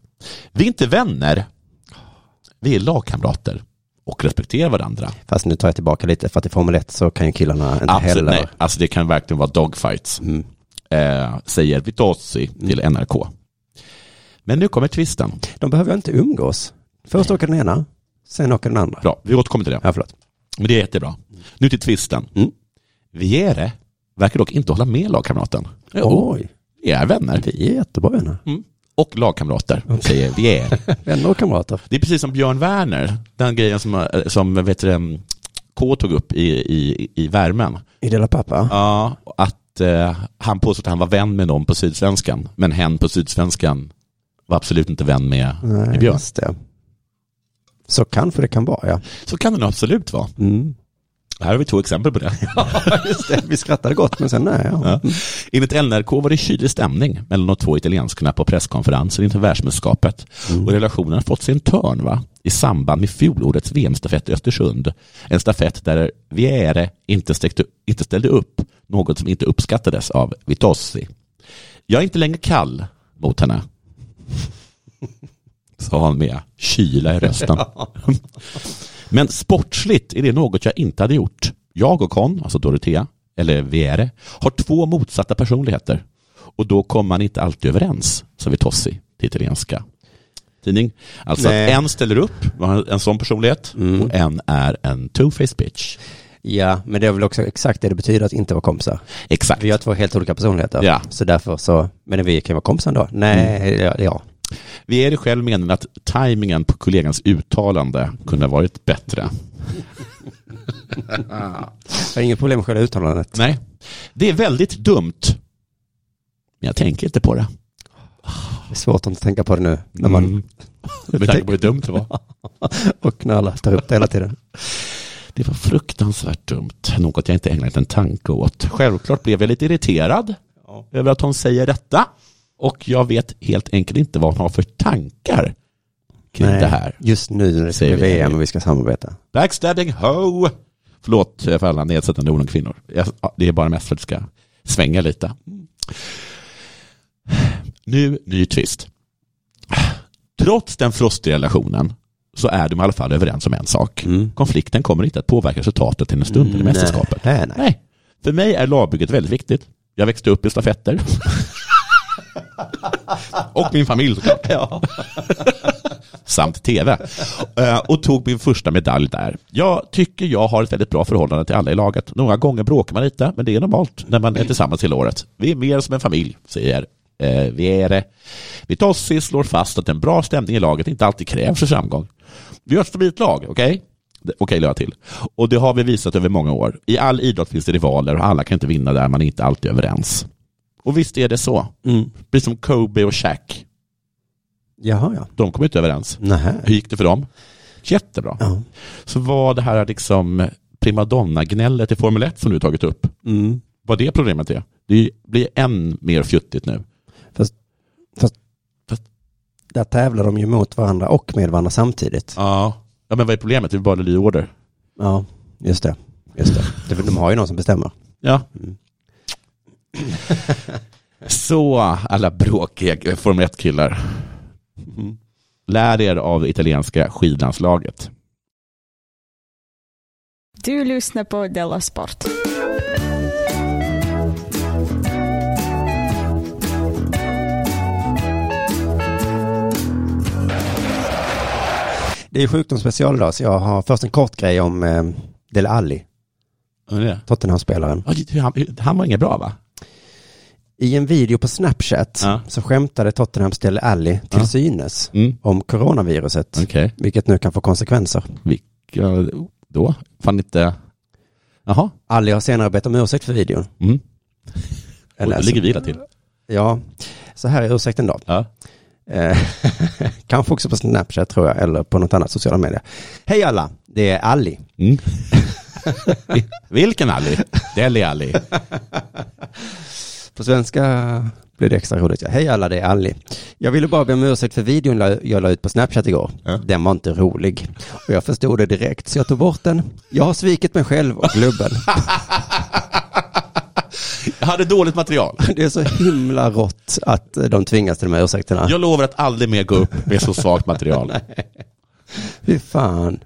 Speaker 2: Vi är inte vänner. Vi är lagkamrater och respekterar varandra.
Speaker 1: Fast nu tar jag tillbaka lite, för att i Formel 1 så kan ju killarna inte
Speaker 2: Absolut,
Speaker 1: heller.
Speaker 2: nej. Alltså det kan verkligen vara dogfights.
Speaker 1: Mm.
Speaker 2: eh, säger Vitozzi till NRK. Men nu kommer twisten.
Speaker 1: De behöver ju inte umgås. Först åker den ena, sen åker den andra.
Speaker 2: Bra, vi återkommer till det.
Speaker 1: Ja, förlåt.
Speaker 2: Men det är jättebra. Nu till twisten.
Speaker 1: Mm.
Speaker 2: Viere verkar dock inte hålla med lagkamraten.
Speaker 1: Oj,
Speaker 2: Vi är vänner.
Speaker 1: vi är jättebra vänner.
Speaker 2: Och lagkamrater, säger Viere.
Speaker 1: Vänner och kamrater.
Speaker 2: Det är precis som Björn Werner, den grejen som, eh, som vet du, em, K tog upp i, i, i värmen.
Speaker 1: I Dela Pappa.
Speaker 2: Ja, att eh, han påstod att han var vän med någon på Sydsvenskan, men hen på Sydsvenskan var absolut inte vän med, med Björn.
Speaker 1: just det. Så kanske det kan vara, ja.
Speaker 2: Så kan det nog absolut vara.
Speaker 1: Mm.
Speaker 2: Här har vi två exempel på det.
Speaker 1: Just det, <laughs> vi skrattade gott, men sen nej. Ja.
Speaker 2: Ja. Enligt NRK var det kylig stämning mellan de två italienskorna på presskonferensen inför världsmästerskapet. Och relationen har fått sig en törn va? i samband med fjolårets VM-stafett i Östersund. En stafett där Viere inte, stäckte, inte ställde upp, något som inte uppskattades av Vitossi. Jag är inte längre kall mot henne. Sa han med kyla i rösten. Men sportsligt är det något jag inte hade gjort. Jag och Con, alltså Dorothea, eller Viere, har två motsatta personligheter. Och då kommer man inte alltid överens, sa Vitossi till italienska tidning. Alltså
Speaker 1: Nej.
Speaker 2: att en ställer upp, har en sån personlighet, och en är en two-faced bitch.
Speaker 1: ja, men det är väl också exakt det det betyder att inte vara kompisar.
Speaker 2: Exakt.
Speaker 1: Vi har två helt olika personligheter.
Speaker 2: Ja. Mm.
Speaker 1: Så därför så, men vi kan ju vara kompisar då. Nej, ja, ja.
Speaker 2: Vieri själv menar att tajmingen på kollegans uttalande kunde ha varit bättre.
Speaker 1: Jag har inget problem med själva uttalandet.
Speaker 2: Nej, det är väldigt dumt. Men jag tänker inte på det.
Speaker 1: Det är svårt att inte tänka på det nu när man
Speaker 2: Mm. Med tanke på hur dumt det var.
Speaker 1: <laughs> och när alla tar upp det hela tiden.
Speaker 2: Det var fruktansvärt dumt. Något jag inte ägnat en tanke åt. Självklart blev jag lite irriterad
Speaker 1: Ja.
Speaker 2: över att hon säger detta. Och jag vet helt enkelt inte vad hon har för tankar kring
Speaker 1: Nej,
Speaker 2: det här.
Speaker 1: Just nu när det ska
Speaker 2: Säger
Speaker 1: bli
Speaker 2: vi.
Speaker 1: VM och vi ska samarbeta.
Speaker 2: Backstabbing ho! Förlåt för alla nedsättande ord om kvinnor. Jag, ja, det är bara mest för att det ska svänga lite. Nu, ny twist. Trots den frostiga relationen så är de i alla fall överens om en sak.
Speaker 1: Mm.
Speaker 2: Konflikten kommer inte att påverka resultatet till en stund i mästerskapet.
Speaker 1: Nej, nej.
Speaker 2: Nej, för mig är lagbygget väldigt viktigt. Jag växte upp
Speaker 1: <laughs>
Speaker 2: i stafetter. och min familj såklart. <laughs> Samt tv. Eh, Och tog min första medalj där. Jag tycker jag har ett väldigt bra förhållande till alla i laget. Några gånger bråkar man lite, men det är normalt när man är tillsammans hela året. Vi är mer som en familj, säger eh, Viere. Vitossi slår fast att en bra stämning i laget inte alltid krävs för framgång. Vi har ett stabilt lag, okej? Det- Okej, okay, jag till. Och det har vi visat över många år. I all idrott finns det rivaler och alla kan inte vinna där man är inte alltid överens. Och visst är det så.
Speaker 1: Mm.
Speaker 2: Precis som Kobe och Shaq.
Speaker 1: Jaha, ja.
Speaker 2: De kom inte överens.
Speaker 1: Nähä.
Speaker 2: Hur gick det för dem? Jättebra.
Speaker 1: Ja.
Speaker 2: Så var det här liksom primadonna-gnället i Formel 1 som du tagit upp.
Speaker 1: Mm.
Speaker 2: Vad det problemet är. Det blir än mer fjuttigt nu.
Speaker 1: Där tävlar de ju mot varandra och med varandra samtidigt.
Speaker 2: Ja. Ja, men vad är problemet? Det är bara order.
Speaker 1: Ja, just det. Just det. Det- De har ju någon som bestämmer.
Speaker 2: Ja.
Speaker 1: Mm.
Speaker 2: Så alla bråkiga Formel 1-killar.
Speaker 1: Mm.
Speaker 2: Lär er av italienska skidlandslaget.
Speaker 5: Du lyssnar på Della Sport.
Speaker 1: <laughs> Det är sjukdomsspecial idag, så jag har först en kort grej om eh, Dele Alli,
Speaker 2: Ja, det är det.
Speaker 1: Tottenham-spelaren.
Speaker 2: Ja, Han, han var inget bra va?
Speaker 1: I en video på Snapchat
Speaker 2: Ja.
Speaker 1: så skämtade Tottenhams Dele Alli till
Speaker 2: Ja.
Speaker 1: synes
Speaker 2: Mm.
Speaker 1: om coronaviruset,
Speaker 2: Okej.
Speaker 1: vilket nu kan få konsekvenser.
Speaker 2: Ja, då? Fan inte... Jaha.
Speaker 1: Alli har senare bett om ursäkt för videon.
Speaker 2: Mm.
Speaker 1: Jag
Speaker 2: Och då
Speaker 1: läser.
Speaker 2: ligger vi illa till.
Speaker 1: Ja, så här är ursäkten då.
Speaker 2: Ja.
Speaker 1: Eh, <laughs> Kanske också på Snapchat tror jag, eller på något annat sociala medier. Hej alla, det är Alli.
Speaker 2: Mm. <laughs> Vilken Ali? Deli Ali.
Speaker 1: På svenska blir det extra roligt. Ja. Hej alla, det är Ali. Jag ville bara be om ursäkt för videon la- jag la ut på Snapchat igår.
Speaker 2: Ja.
Speaker 1: Den var inte rolig. Och jag förstod det direkt, så jag tog bort den. Jag har svikit mig själv och
Speaker 2: <laughs>
Speaker 1: klubben.
Speaker 2: Jag hade dåligt material.
Speaker 1: Det är så himla rått att eh, de tvingas till de här ursäkterna.
Speaker 2: Jag lovar att aldrig mer gå upp med så svagt material.
Speaker 1: Fy fan.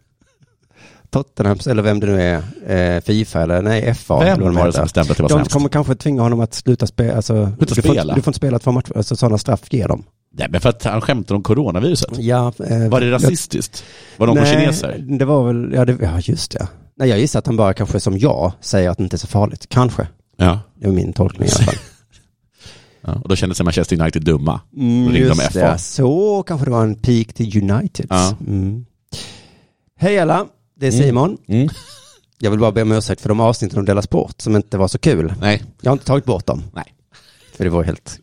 Speaker 1: Tottenhams, eller vem det nu är, eh, Fifa eller nej, FA. eller
Speaker 2: Vem
Speaker 1: vad de
Speaker 2: var det
Speaker 1: heter.
Speaker 2: som bestämde att det var
Speaker 1: De
Speaker 2: sämst?
Speaker 1: kommer kanske tvinga honom att sluta spela. Alltså,
Speaker 2: Sluta
Speaker 1: du, får,
Speaker 2: spela?
Speaker 1: inte- du får inte spela två matcher, alltså, sådana straff ger dem.
Speaker 2: Nej, men för att han skämtar om coronaviruset.
Speaker 1: Ja, eh,
Speaker 2: Var det
Speaker 1: jag-
Speaker 2: rasistiskt? Var de på
Speaker 1: Nej,
Speaker 2: kineser?
Speaker 1: det var väl, ja, det, ja just det. Nej, jag gissar att han bara kanske som jag säger att det inte är så farligt. Kanske.
Speaker 2: Ja.
Speaker 1: Det var min tolkning i
Speaker 2: <laughs>
Speaker 1: alla fall.
Speaker 2: ja. Och då kände sig Manchester United dumma.
Speaker 1: Mm,
Speaker 2: Ringde
Speaker 1: just
Speaker 2: de FA.
Speaker 1: det. Så kanske det var en peak till United.
Speaker 2: Ja.
Speaker 1: Mm. Hej alla, det är
Speaker 2: Mm.
Speaker 1: Simon.
Speaker 2: Mm.
Speaker 1: Jag vill bara be om ursäkt för de avsnitten om Della Sport som inte var så kul.
Speaker 2: Nej.
Speaker 1: Jag har inte tagit bort dem.
Speaker 2: Nej.
Speaker 1: För det var helt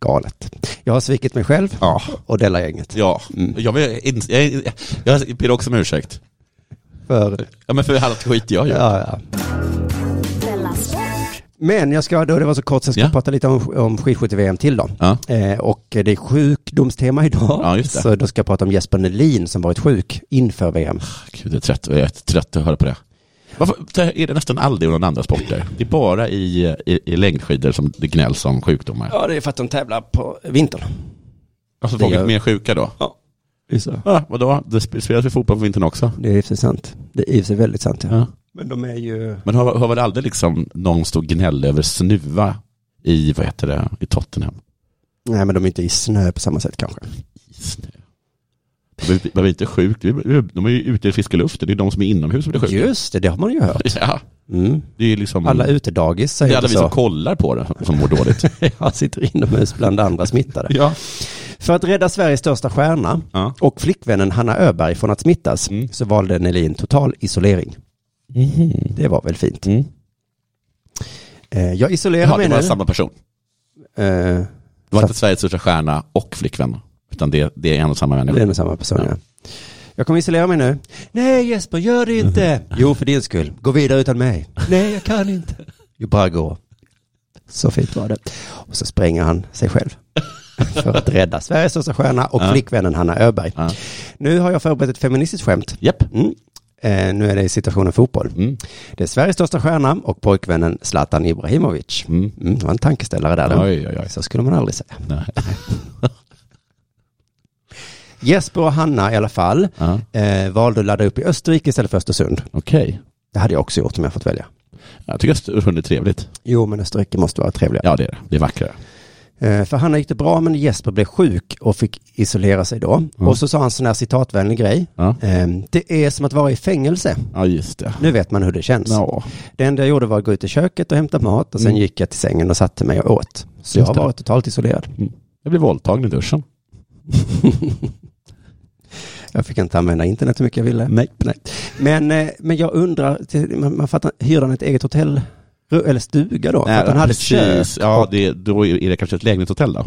Speaker 1: galet. Jag har svikit mig själv
Speaker 2: Ja.
Speaker 1: och Della-gänget.
Speaker 2: Ja.
Speaker 1: Mm.
Speaker 2: Jag, vill, in- jag, jag ber också om ursäkt.
Speaker 1: För,
Speaker 2: Ja, men för allt skit jag gör.
Speaker 1: ja, ja.
Speaker 4: Della Sport.
Speaker 1: Men jag ska, då det var så kort, så jag ska
Speaker 2: Ja.
Speaker 1: prata lite om, om skidskytte-VM till då.
Speaker 2: Ja.
Speaker 1: Eh, och det är sjukdomstema idag.
Speaker 2: Ja, just det.
Speaker 1: Så då ska jag prata om Jesper Nelin som varit sjuk inför VM.
Speaker 2: Gud, jag är trött, jag är trött att höra på det. Varför det är det nästan aldrig i någon andra sporter? Det är bara i, i, i längdskidor som det gnälls om sjukdomar.
Speaker 1: Ja, det är för att de tävlar på vintern.
Speaker 2: Alltså
Speaker 1: det
Speaker 2: folk är
Speaker 1: gör-
Speaker 2: mer sjuka då?
Speaker 1: Det
Speaker 2: Ja, vadå? Det sp- spelas ju fotboll på vintern också.
Speaker 1: är i och för sig sant. Det är i och för sig väldigt sant. Ja.
Speaker 2: Ja.
Speaker 1: Men de är ju...
Speaker 2: Men har, har väl aldrig liksom någon stod gnäll över snuva i, vad heter det, i Tottenham?
Speaker 1: Nej, men de är inte i snö på samma sätt kanske.
Speaker 2: I snö. De blir- de blir inte sjukt, de är ju ute i friska luften, det är de som är inomhus som blir sjuka.
Speaker 1: Just det, det har man ju hört.
Speaker 2: Ja,
Speaker 1: Mm.
Speaker 2: det är ju liksom,
Speaker 1: Alla utedagis
Speaker 2: det är
Speaker 1: säger
Speaker 2: alla
Speaker 1: inte
Speaker 2: vi som
Speaker 1: så.
Speaker 2: kollar på det som mår dåligt.
Speaker 1: <laughs> Jag sitter inomhus bland andra smittade.
Speaker 2: ja.
Speaker 1: För att rädda Sveriges största stjärna
Speaker 2: Ja.
Speaker 1: och flickvännen Hanna Öberg från att smittas
Speaker 2: Mm.
Speaker 1: så valde Nelin total isolering. Det var väl fint.
Speaker 2: Mm.
Speaker 1: Eh, Jag isolerar
Speaker 2: Jaha,
Speaker 1: mig
Speaker 2: det
Speaker 1: nu.
Speaker 2: var samma person.
Speaker 1: Eh,
Speaker 2: Det var
Speaker 1: Så-
Speaker 2: inte Sveriges största stjärna och flickvän, utan det, det är en och samma
Speaker 1: det är
Speaker 2: människa.
Speaker 1: med samma person,
Speaker 2: Ja.
Speaker 1: ja. Jag kommer isolera mig nu. Nej Jesper, gör det inte. Mhm. Jo, för din skull. Gå vidare utan mig. Nej, jag kan inte. Jo, bara gå. Så fint var det. Och så spränger han sig själv. För att rädda Sveriges största stjärna och
Speaker 2: Ja.
Speaker 1: flickvännen Hanna Öberg.
Speaker 2: Ja.
Speaker 1: Nu har jag förberett ett feministiskt skämt.
Speaker 2: Japp.
Speaker 1: Mm. Eh, nu är det i situationen fotboll.
Speaker 2: Mm.
Speaker 1: Det är Sveriges största stjärna och pojkvännen Zlatan Ibrahimovic.
Speaker 2: Mm.
Speaker 1: Mm, det var en tankeställare där. då.
Speaker 2: Oj, oj, oj.
Speaker 1: Så skulle man aldrig säga.
Speaker 2: Nej.
Speaker 1: Jesper och Hanna i alla fall
Speaker 2: Ja.
Speaker 1: eh, valde att ladda upp i Österrike istället för Östersund.
Speaker 2: Okej.
Speaker 1: Det hade jag också gjort om jag fått välja.
Speaker 2: Jag tycker Östersund är trevligt.
Speaker 1: Jo, men Österrike måste vara trevligare.
Speaker 2: Ja, det är det. Det är vackrare.
Speaker 1: Eh, för Hanna gick det bra, men Jesper blev sjuk och fick isolera sig då. Och så sa han en sån här citatvänlig grej.
Speaker 2: Ja,
Speaker 1: Eh, det är som att vara i fängelse.
Speaker 2: ja just det.
Speaker 1: Nu vet man hur det känns.
Speaker 2: Ja.
Speaker 1: Det enda jag gjorde var att gå ut i köket och hämta mat och sen
Speaker 2: Mm.
Speaker 1: gick jag till sängen och satte mig och åt. Så jag
Speaker 2: Just
Speaker 1: har
Speaker 2: det.
Speaker 1: varit totalt
Speaker 2: <laughs>
Speaker 1: isolerad.
Speaker 2: Jag blev våldtagen i duschen.
Speaker 1: Jag fick inte använda internet hur mycket jag ville.
Speaker 2: Nej.
Speaker 1: Nej. Men, eh, men jag undrar, till- man, man fattar, hyrde han ett eget hotell eller stuga då? För att han hade ett kök.
Speaker 2: precis. Ja, det, då är det kanske ett lägenhetshotell då.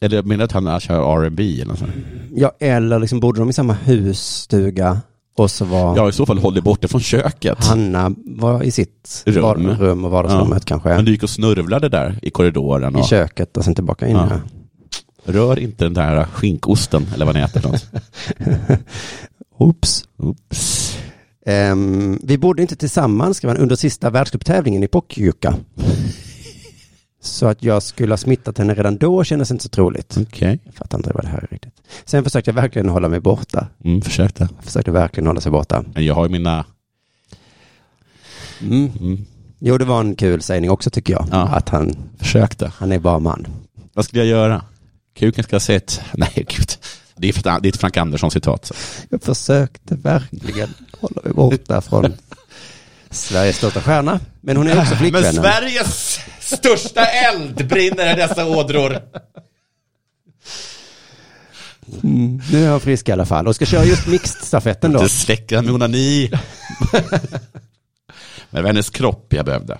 Speaker 2: Eller jag menar att han kör R&B eller något sånt.
Speaker 1: Ja, eller liksom bodde de i samma husstuga och så var
Speaker 2: Ja, i så fall håll dig borta från köket.
Speaker 1: Hanna var i sitt
Speaker 2: Rum.
Speaker 1: rum, rum och vardagsrummet kanske.
Speaker 2: Men du gick och snörvlade där i korridoren
Speaker 1: I
Speaker 2: och
Speaker 1: köket och sen tillbaka in.
Speaker 2: Ja.
Speaker 1: här. <laughs>
Speaker 2: rör inte den där skinkosten eller vad ni äter för något.
Speaker 1: Oops.
Speaker 2: Oops.
Speaker 1: Ehm, vi bodde inte tillsammans, skrev han, under sista världscuptävlingen i Pokyuka. <laughs> Så att jag skulle ha smittat henne redan då kändes inte så troligt.
Speaker 2: Okej.
Speaker 1: Mm. Jag fattar inte vad det här är riktigt. Sen försökte jag verkligen hålla mig borta.
Speaker 2: Mm, försökte.
Speaker 1: Jag försökte verkligen hålla sig borta.
Speaker 2: Men jag har ju mina...
Speaker 1: Mm.
Speaker 2: Mm,
Speaker 1: Jo, det var en kul sägning också tycker jag.
Speaker 2: Ja.
Speaker 1: Att han,
Speaker 2: försökte.
Speaker 1: han är bara man.
Speaker 2: Vad skulle jag göra? Kuken ska ha sett... <laughs> Nej, gud. Det är, för, det är ett Frank Andersson-citat.
Speaker 1: Jag försökte verkligen hålla mig borta från <laughs> Sveriges största stjärna. <laughs> Men hon är också flickvännen.
Speaker 2: Sveriges största eld brinner i dessa ådror.
Speaker 1: Nu är hon frisk i alla fall och ska köra just mixed-stafetten då.
Speaker 2: <laughs> Det släcker med onani. <laughs> Men det var hennes kropp jag <laughs> behövde.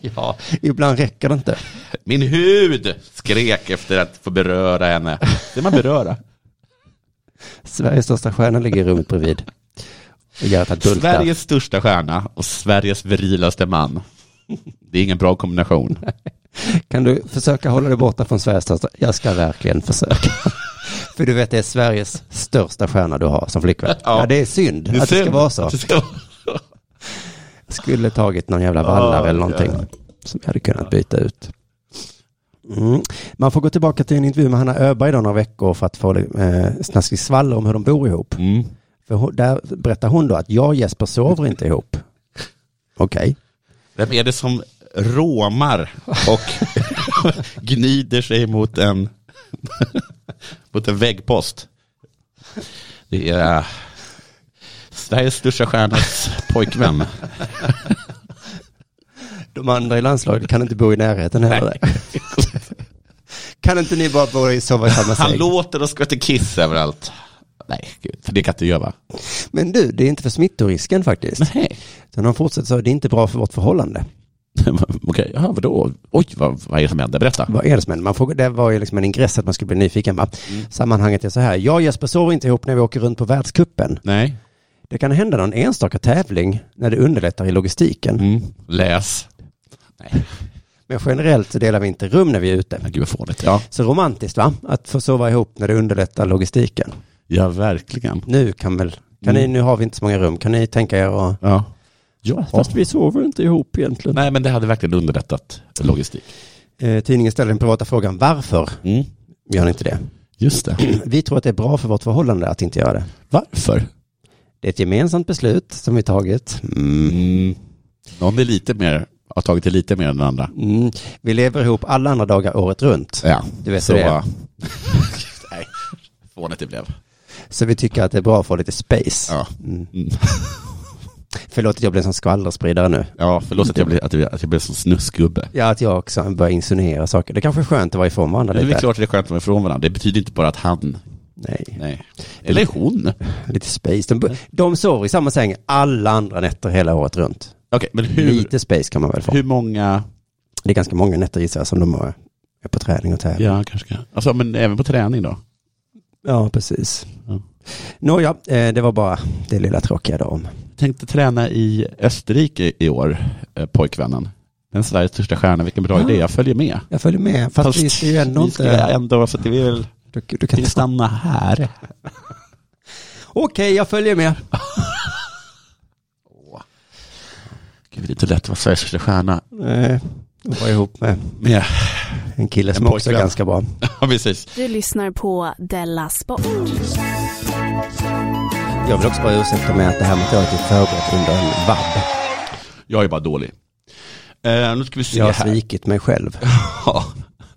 Speaker 1: Ja, <laughs> ibland räcker det inte.
Speaker 2: Min hud skrek efter att få beröra henne. Det man beröra.
Speaker 1: Sveriges största stjärna ligger i rummet bredvid. Och Gerhard Bulta.
Speaker 2: Sveriges största stjärna och Sveriges virilaste man. Det är ingen bra kombination.
Speaker 1: Kan du försöka hålla dig borta från Sveriges största? Jag ska verkligen försöka. <laughs> För du vet, det är Sveriges största stjärna du har som flickvän. Ja,
Speaker 2: Ja.
Speaker 1: det är synd
Speaker 2: är
Speaker 1: att det ska
Speaker 2: synd
Speaker 1: vara så.
Speaker 2: att det ska-
Speaker 1: Skulle tagit någon jävla vallare eller någonting. Som jag hade kunnat byta ut. Mm. Man får gå tillbaka till en intervju med Hanna Öberg då några veckor för att få eh, snaskigt skvaller om hur de bor ihop.
Speaker 2: Mm.
Speaker 1: För hon, där berättar hon då att jag och Jesper sover inte ihop. Okej.
Speaker 2: Vem är det som råmar <laughs> och gnider sig mot en, <laughs> mot en väggpost? Det är Sveriges största stjärnas pojkvän.
Speaker 1: De andra i landslaget kan inte bo i närheten heller. <laughs> Kan inte ni bara bo i, sova i samma
Speaker 2: Han
Speaker 1: säng?
Speaker 2: låter och skvätter kiss överallt. Nej, gud, för det kan inte jag va?
Speaker 1: Men du, det är inte för smittorisken faktiskt.
Speaker 2: Nej.
Speaker 1: Sen hon fortsätter så, det är inte bra för vårt förhållande.
Speaker 2: <laughs> Okej, ja, vadå? Oj, vad, vad är det som händer? Berätta.
Speaker 1: Vad är det som händer? Man får, det var ju liksom en ingress att man skulle bli nyfiken. Va?
Speaker 2: Mm.
Speaker 1: Sammanhanget är så här, jag och Jesper sover inte ihop när vi åker runt på världskuppen.
Speaker 2: Nej.
Speaker 1: Det kan hända någon enstaka tävling när det underlättar i logistiken.
Speaker 2: Mm. Läs. Nej,
Speaker 1: Men generellt så delar vi inte rum när vi är ute.
Speaker 2: men gud vad fånigt. Ja.
Speaker 1: Så romantiskt va? Att få sova ihop när det underlättar logistiken.
Speaker 2: ja, verkligen.
Speaker 1: Nu kan väl, kan
Speaker 2: Mm.
Speaker 1: ni, nu har vi inte så många rum, kan ni tänka er att
Speaker 2: Ja. Ja,
Speaker 1: vi sover inte ihop egentligen.
Speaker 2: Nej, men det hade verkligen underlättat logistik.
Speaker 1: Eh, tidningen ställer den privata frågan varför
Speaker 2: Mm.
Speaker 1: gör ni inte det? <clears throat>
Speaker 2: Just det.
Speaker 1: Vi tror att det är bra för vårt förhållande att inte göra det.
Speaker 2: Varför?
Speaker 1: Det är ett gemensamt beslut som vi tagit.
Speaker 2: Mm. Någon är lite mer, har tagit det lite mer än den andra.
Speaker 1: Mm. Vi lever ihop alla andra dagar året runt.
Speaker 2: Ja,
Speaker 1: Du vet hur det är.
Speaker 2: <laughs> Nej, fånigt det blev.
Speaker 1: Så vi tycker att det är bra att få lite space.
Speaker 2: Ja,
Speaker 1: Mm.
Speaker 2: Mm.
Speaker 1: Förlåt att jag blev en sån skvallerspridare nu.
Speaker 2: ja förlåt att jag blev, att jag, att jag blev som snusgubbe.
Speaker 1: Ja, att jag också börjar insinuera saker. Det kanske är skönt att vara ifrån varandra
Speaker 2: Det
Speaker 1: lite.
Speaker 2: är klart att det är skönt att vara ifrån varandra. Det betyder inte bara att han,
Speaker 1: Nej,
Speaker 2: nej. Eller hon.
Speaker 1: lite space. De, de sover i samma säng alla andra nätter hela året runt.
Speaker 2: Okej, men hur,
Speaker 1: Lite space kan man väl få.
Speaker 2: hur många,
Speaker 1: Det är ganska många nätter gissar jag som de har är på träning och tävling.
Speaker 2: Ja, kanske kan. Alltså, men även på träning då?
Speaker 1: Ja, precis.
Speaker 2: Ja.
Speaker 1: Nåja, eh, det var bara det lilla tråkiga då om.
Speaker 2: Tänkte träna i Österrike i år, eh, pojkvännen. Den Sveriges största stjärna, vilken bra
Speaker 1: Ah.
Speaker 2: idé, jag följer med.
Speaker 1: Jag följer med, fast, vi ska ju ändå
Speaker 2: vi ska
Speaker 1: inte...
Speaker 2: ändå, för att vi vill
Speaker 1: Du, du kan
Speaker 2: vi
Speaker 1: inte...
Speaker 2: stanna här.
Speaker 1: Okej, jag följer med.
Speaker 2: Gud, det är inte lätt att vara Sveriges största stjärna.
Speaker 1: Nej, jag var ihop med
Speaker 2: Med,
Speaker 1: Eh, en kille som
Speaker 2: En
Speaker 1: också är
Speaker 2: pojkvän.
Speaker 1: ganska bra.
Speaker 2: <laughs> ja, precis.
Speaker 4: Du lyssnar på Della Sport.
Speaker 1: Jag vill också bara ursäkta mig att det här materialet är förberett under en vabb.
Speaker 2: Jag är bara dålig. Eh, nu ska vi se
Speaker 1: Jag har
Speaker 2: här.
Speaker 1: svikit mig själv.
Speaker 2: Ja.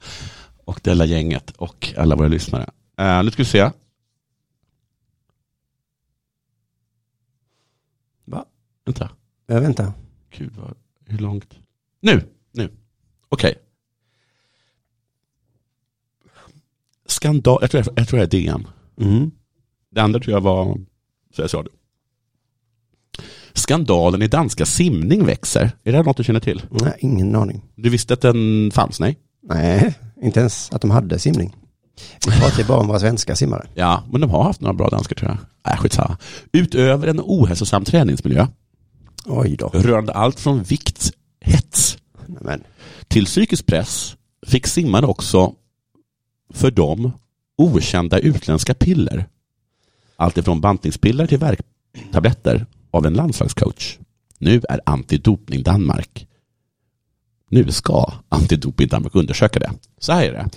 Speaker 2: <laughs> Och det hela gänget och alla våra lyssnare. Eh, nu ska vi se.
Speaker 1: Va?
Speaker 2: Vänta.
Speaker 1: Jag vänta.
Speaker 2: Gud, vad, hur långt? Nu, nu. Okej. Skandal, jag tror, jag tror det är DN.
Speaker 1: Mm.
Speaker 2: Det andra tror jag var Sveriges Radio. Skandalen i danska simning växer. Är det här något du känner till?
Speaker 1: Nej, ingen aning.
Speaker 2: Du visste att den fanns? Nej?
Speaker 1: Nej, inte ens att de hade simning. Vi pratar ju bara om våra svenska simmare.
Speaker 2: Ja, men de har haft några bra danskar tror jag. Äh, skitsamma. Utöver en ohälsosam träningsmiljö
Speaker 1: Oj då.
Speaker 2: rörande allt från vikthets
Speaker 1: Men,
Speaker 2: till psykisk press fick simmarna också för dem okända utländska piller. Allt ifrån bantningspiller till värktabletter av en landslagscoach. Nu är antidopning Danmark. Nu ska antidopning Danmark undersöka det. Så här är det.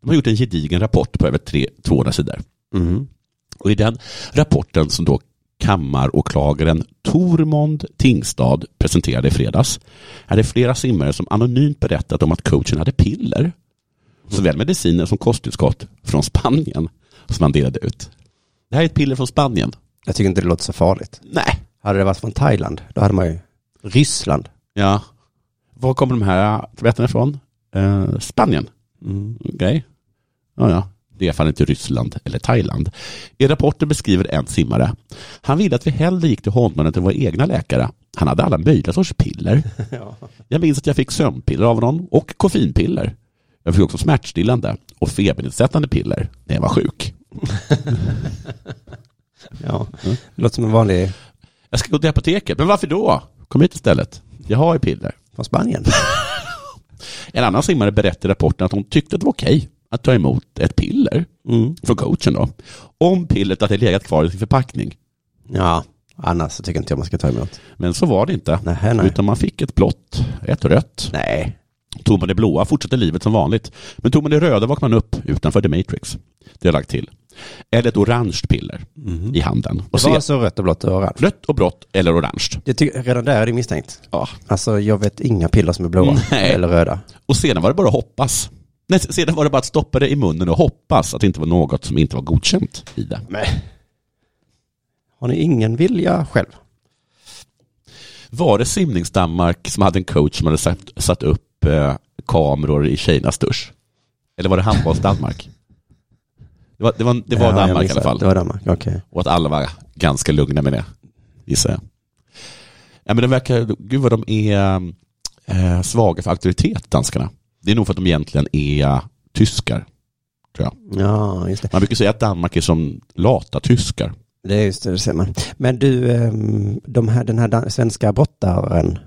Speaker 2: De har gjort en gedigen rapport på över tre- 200 sidor.
Speaker 1: mm.
Speaker 2: Och i den rapporten som då kammaråklagaren Tormond Tingstad presenterade i fredags är det flera simmare som anonymt berättat om att coachen hade piller, såväl mediciner som kosttillskott från Spanien som han delade ut. Det här är ett piller från Spanien.
Speaker 1: jag tycker inte det låter så farligt.
Speaker 2: Nej.
Speaker 1: Hade det varit från Thailand, då hade man ju Ryssland.
Speaker 2: Ja. Var kommer de här tabletterna ifrån? Eh, Spanien.
Speaker 1: Mm.
Speaker 2: <laughs> Okej. Ja, ja. Det är i alla fall inte Ryssland eller Thailand. I rapporten beskriver en simmare. Han ville att vi hellre gick till honom än till våra egna läkare. Han hade alla möjliga sorts piller. Jag minns att jag fick sömnpiller av honom och koffeinpiller. Jag fick också smärtstillande och febernedsättande piller när jag var sjuk.
Speaker 1: Ja, det Mm. låter som en vanlig
Speaker 2: Jag ska gå till apoteket, men varför då? Kom hit istället. Jag har ju piller.
Speaker 1: från Spanien.
Speaker 2: En annan simmare berättade i rapporten att hon tyckte att det var okej att ta emot ett piller
Speaker 1: Mm.
Speaker 2: från coachen då. Om pillret hade legat kvar i sin förpackning.
Speaker 1: <laughs> Ja, annars så tycker inte jag man ska ta emot.
Speaker 2: Men så var det inte.
Speaker 1: Nej, nej.
Speaker 2: Utan man fick ett blått, ett rött.
Speaker 1: Nej.
Speaker 2: Tog man det blåa fortsatte livet som vanligt. Men tog man det röda vaknade man upp utanför The Matrix. Det har jag lagt till. Eller ett orange piller i handen. Och
Speaker 1: Mm. Det var
Speaker 2: se,
Speaker 1: alltså rött och blått och orange.
Speaker 2: Rött och blått eller orange.
Speaker 1: Jag tycker, redan där är det misstänkt.
Speaker 2: Ja.
Speaker 1: Alltså jag vet inga piller som är <laughs> blåa
Speaker 2: Nej.
Speaker 1: eller röda.
Speaker 2: Och sedan var det bara att hoppas. Nej, sedan var det bara att stoppa det i munnen och hoppas att det inte var något som inte var godkänt i det.
Speaker 1: Har ni ingen vilja själv?
Speaker 2: Var det simningsdanmark som hade en coach som hade satt, satt upp eh, kameror i tjejernas dusch? Eller var det handbolls-Danmark? Det var, det var, det var
Speaker 1: Ja, jag
Speaker 2: Danmark i
Speaker 1: missade.
Speaker 2: alla fall.
Speaker 1: Det var Danmark, okej.
Speaker 2: Och att alla var ganska lugna med det, gissar jag. Ja, men det verkar, gud vad de är eh, svaga för auktoritet, danskarna. Det är nog för att de egentligen är tyskar, tror jag.
Speaker 1: Ja, just det.
Speaker 2: Man brukar säga att Danmark är som lata tyskar.
Speaker 1: Det är just det, det ser man. Men du, ehm, de här, den här dan- svenska brottaren,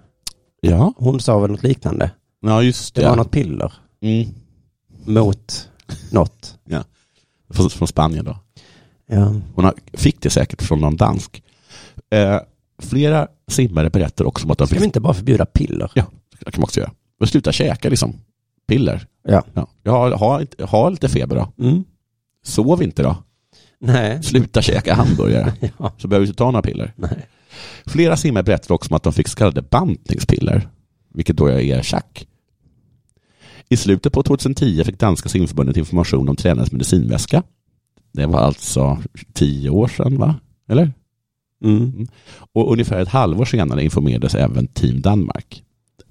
Speaker 2: Ja,
Speaker 1: hon sa väl något liknande?
Speaker 2: ja just
Speaker 1: Det
Speaker 2: det.
Speaker 1: var något piller
Speaker 2: Mm.
Speaker 1: mot något.
Speaker 2: Från, från Spanien då.
Speaker 1: Ja.
Speaker 2: Hon har- fick det säkert från någon dansk. Eh, flera simmare berättar också om att de
Speaker 1: Ska
Speaker 2: fick...
Speaker 1: vi inte bara förbjuda piller?
Speaker 2: Ja, det kan man också göra. Och sluta käka liksom. Piller.
Speaker 1: Ja.
Speaker 2: Ja. Jag har, har, inte- har lite feber då.
Speaker 1: Mm.
Speaker 2: Sov inte då.
Speaker 1: Nej.
Speaker 2: Sluta käka hamburgare.
Speaker 1: <laughs> Ja.
Speaker 2: Så behöver du inte ta några piller.
Speaker 1: Nej.
Speaker 2: Flera simmare berättar också om att de fick så kallade bantningspiller. Vilket då är tjack. I slutet på 2010 fick danska simförbundet information om tränarens medicinväska. Det var alltså tio år sedan va? Eller?
Speaker 1: Mm.
Speaker 2: Och ungefär ett halvår senare informerades även Team Danmark.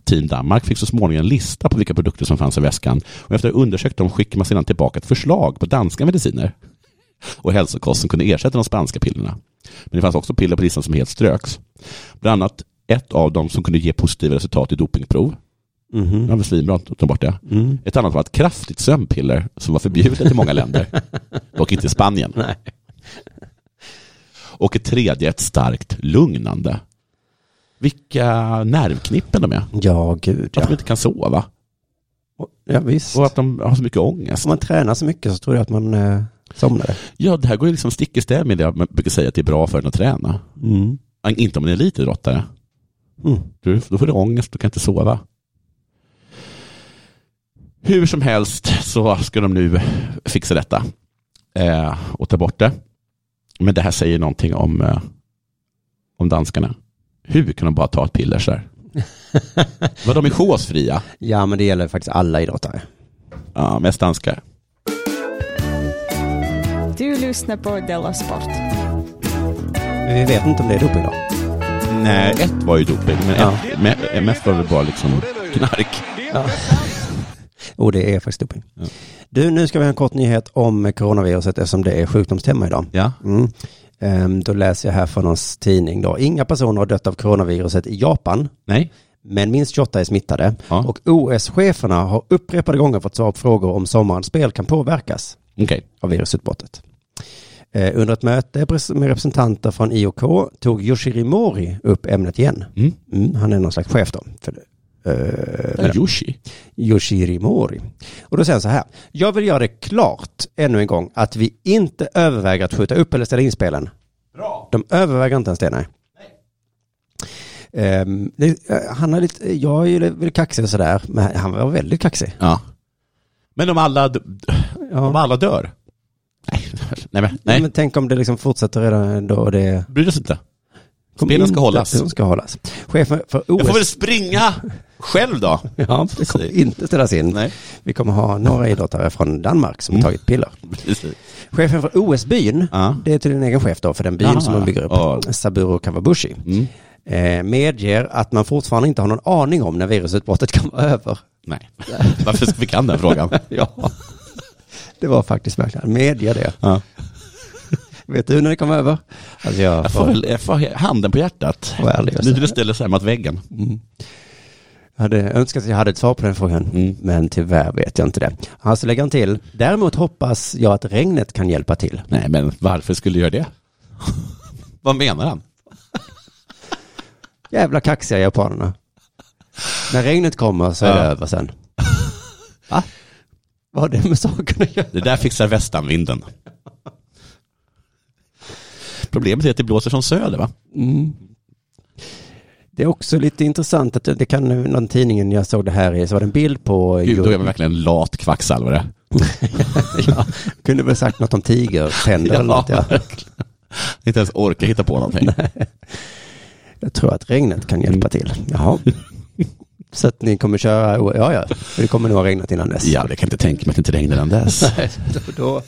Speaker 2: Team Danmark fick så småningom en lista på vilka produkter som fanns i väskan och efter att ha undersökt dem skickade man sedan tillbaka ett förslag på danska mediciner <laughs> och hälsokost som kunde ersätta de spanska pillerna. Men det fanns också piller på listan som helt ströks. Bland annat ett av dem som kunde ge positiva resultat i dopingprov.
Speaker 1: Mhm.
Speaker 2: Det var svinbra att ta bort det.
Speaker 1: Mm.
Speaker 2: Ett annat var ett kraftigt sömnpiller som var förbjudet i många länder, dock inte i Spanien.
Speaker 1: <laughs> Nej.
Speaker 2: Och ett tredje, ett starkt lugnande. Vilka nervknippen de är.
Speaker 1: <laughs> Ja, gud
Speaker 2: Att de
Speaker 1: ja.
Speaker 2: inte kan sova
Speaker 1: Ja, visst.
Speaker 2: och att de har så mycket ångest.
Speaker 1: Om man tränar så mycket så tror jag att man eh, somnar.
Speaker 2: Ja, det här går ju liksom stick i stäv med det man brukar säga att det är bra för en att träna.
Speaker 1: Mm.
Speaker 2: Inte om man är elitidrottare.
Speaker 1: Mm.
Speaker 2: Du, då får du ångest, du kan inte sova. Hur som helst så ska de nu fixa detta eh, och ta bort det. Men det här säger någonting om, eh, om danskarna. Hur kan de bara ta ett piller så <laughs> här? Vad de är chosfria.
Speaker 1: Ja, men det gäller faktiskt alla idrottare.
Speaker 2: Ja, mest danskar.
Speaker 5: Du lyssnar på Della Sport.
Speaker 1: Men vi vet inte om det är doping då.
Speaker 2: Nej, ett var ju doping, men
Speaker 1: Ja.
Speaker 2: ett, me- mest var det bara liksom knark.
Speaker 1: <laughs> Och det är faktiskt doping.
Speaker 2: Ja.
Speaker 1: Du, nu ska vi ha en kort nyhet om coronaviruset eftersom det är sjukdomstema idag.
Speaker 2: Ja.
Speaker 1: Mm. Ehm, då läser jag här från någons tidning då. Inga personer har dött av coronaviruset i Japan,
Speaker 2: Nej.
Speaker 1: men minst 28 är smittade.
Speaker 2: Ja.
Speaker 1: Och OS-cheferna har upprepade gånger fått svar på frågor om sommarens spel kan påverkas
Speaker 2: Okej.
Speaker 1: av virusutbrottet. Eh, under ett möte pres- med representanter från IOK tog Yoshiri Mori upp ämnet igen.
Speaker 2: Mm.
Speaker 1: Mm, han är någon slags chef då. För, eh,
Speaker 2: Ja, Yoshi.
Speaker 1: Yoshiri Mori. Och då säger han så här. Jag vill göra det klart ännu en gång att vi inte överväger att skjuta upp eller ställa in spelen. De överväger inte ens det, nej. Ehm, det, eh, han är lite, jag är ju lite kaxig och sådär, men han var väldigt kaxig.
Speaker 2: Ja. Men om alla, d- om
Speaker 1: Ja.
Speaker 2: alla dör? Nej, <laughs> nej, men, nej.
Speaker 1: Men tänk om det liksom fortsätter redan då och det...
Speaker 2: bryr oss inte.
Speaker 1: kommer
Speaker 2: Spelen ska
Speaker 1: inte-
Speaker 2: hållas.
Speaker 1: De ska hållas. Chefen för
Speaker 2: Jag får väl
Speaker 1: OS...
Speaker 2: springa själv <laughs> då.
Speaker 1: Ja, det kommer inte ställas in.
Speaker 2: Nej.
Speaker 1: Vi kommer ha några idrottare från Danmark som
Speaker 2: Mm.
Speaker 1: tagit piller.
Speaker 2: Precis.
Speaker 1: Chefen för OS-byn,
Speaker 2: Ja.
Speaker 1: det är till en egen chef då för den byn
Speaker 2: Jaha.
Speaker 1: som de bygger upp,
Speaker 2: Ja.
Speaker 1: Saburo Kawabushi,
Speaker 2: Mm.
Speaker 1: eh, medger att man fortfarande inte har någon aning om när virusutbrottet kan vara över.
Speaker 2: <laughs> Nej, varför fick han den frågan?
Speaker 1: Ja, <laughs> det var faktiskt verkligen, han medger det.
Speaker 2: <laughs> Ja.
Speaker 1: Vet du när det kom över? Alltså jag
Speaker 2: Jag får
Speaker 1: får,
Speaker 2: väl jag får handen på hjärtat.
Speaker 1: Vad ärlig jag
Speaker 2: Nu
Speaker 1: säger.
Speaker 2: när du ställer sig här mot väggen.
Speaker 1: hade önskat att jag hade ett svar på den frågan,
Speaker 2: Mm.
Speaker 1: men tyvärr vet jag inte det. Alltså lägger han till, däremot hoppas jag att regnet kan hjälpa till.
Speaker 2: Nej, men varför skulle jag <laughs> göra det? Vad menar han?
Speaker 1: Jävla kaxiga japanerna. När regnet kommer så är det
Speaker 2: Ja.
Speaker 1: över sen. Va? Vad har det med saken att göra?
Speaker 2: Det där fixar västanvinden. Problemet är att det blåser från söder, va?
Speaker 1: Det är också lite intressant att det kan, någon tidningen jag såg det här i, så var det en bild på...
Speaker 2: Gud, då är man verkligen en lat kvacksalvare.
Speaker 1: <laughs> ja, kunde väl sagt något om tigertänder eller något.
Speaker 2: <laughs>
Speaker 1: Ja.
Speaker 2: Inte ens orkar hitta på någonting.
Speaker 1: Jag tror att regnet kan hjälpa till. Jaha. Så att ni kommer köra, ja ja, det kommer nog ha regnat innan dess.
Speaker 2: Ja, det kan jag inte tänka mig att det inte regnade än <laughs> dess.
Speaker 1: Och <laughs> då,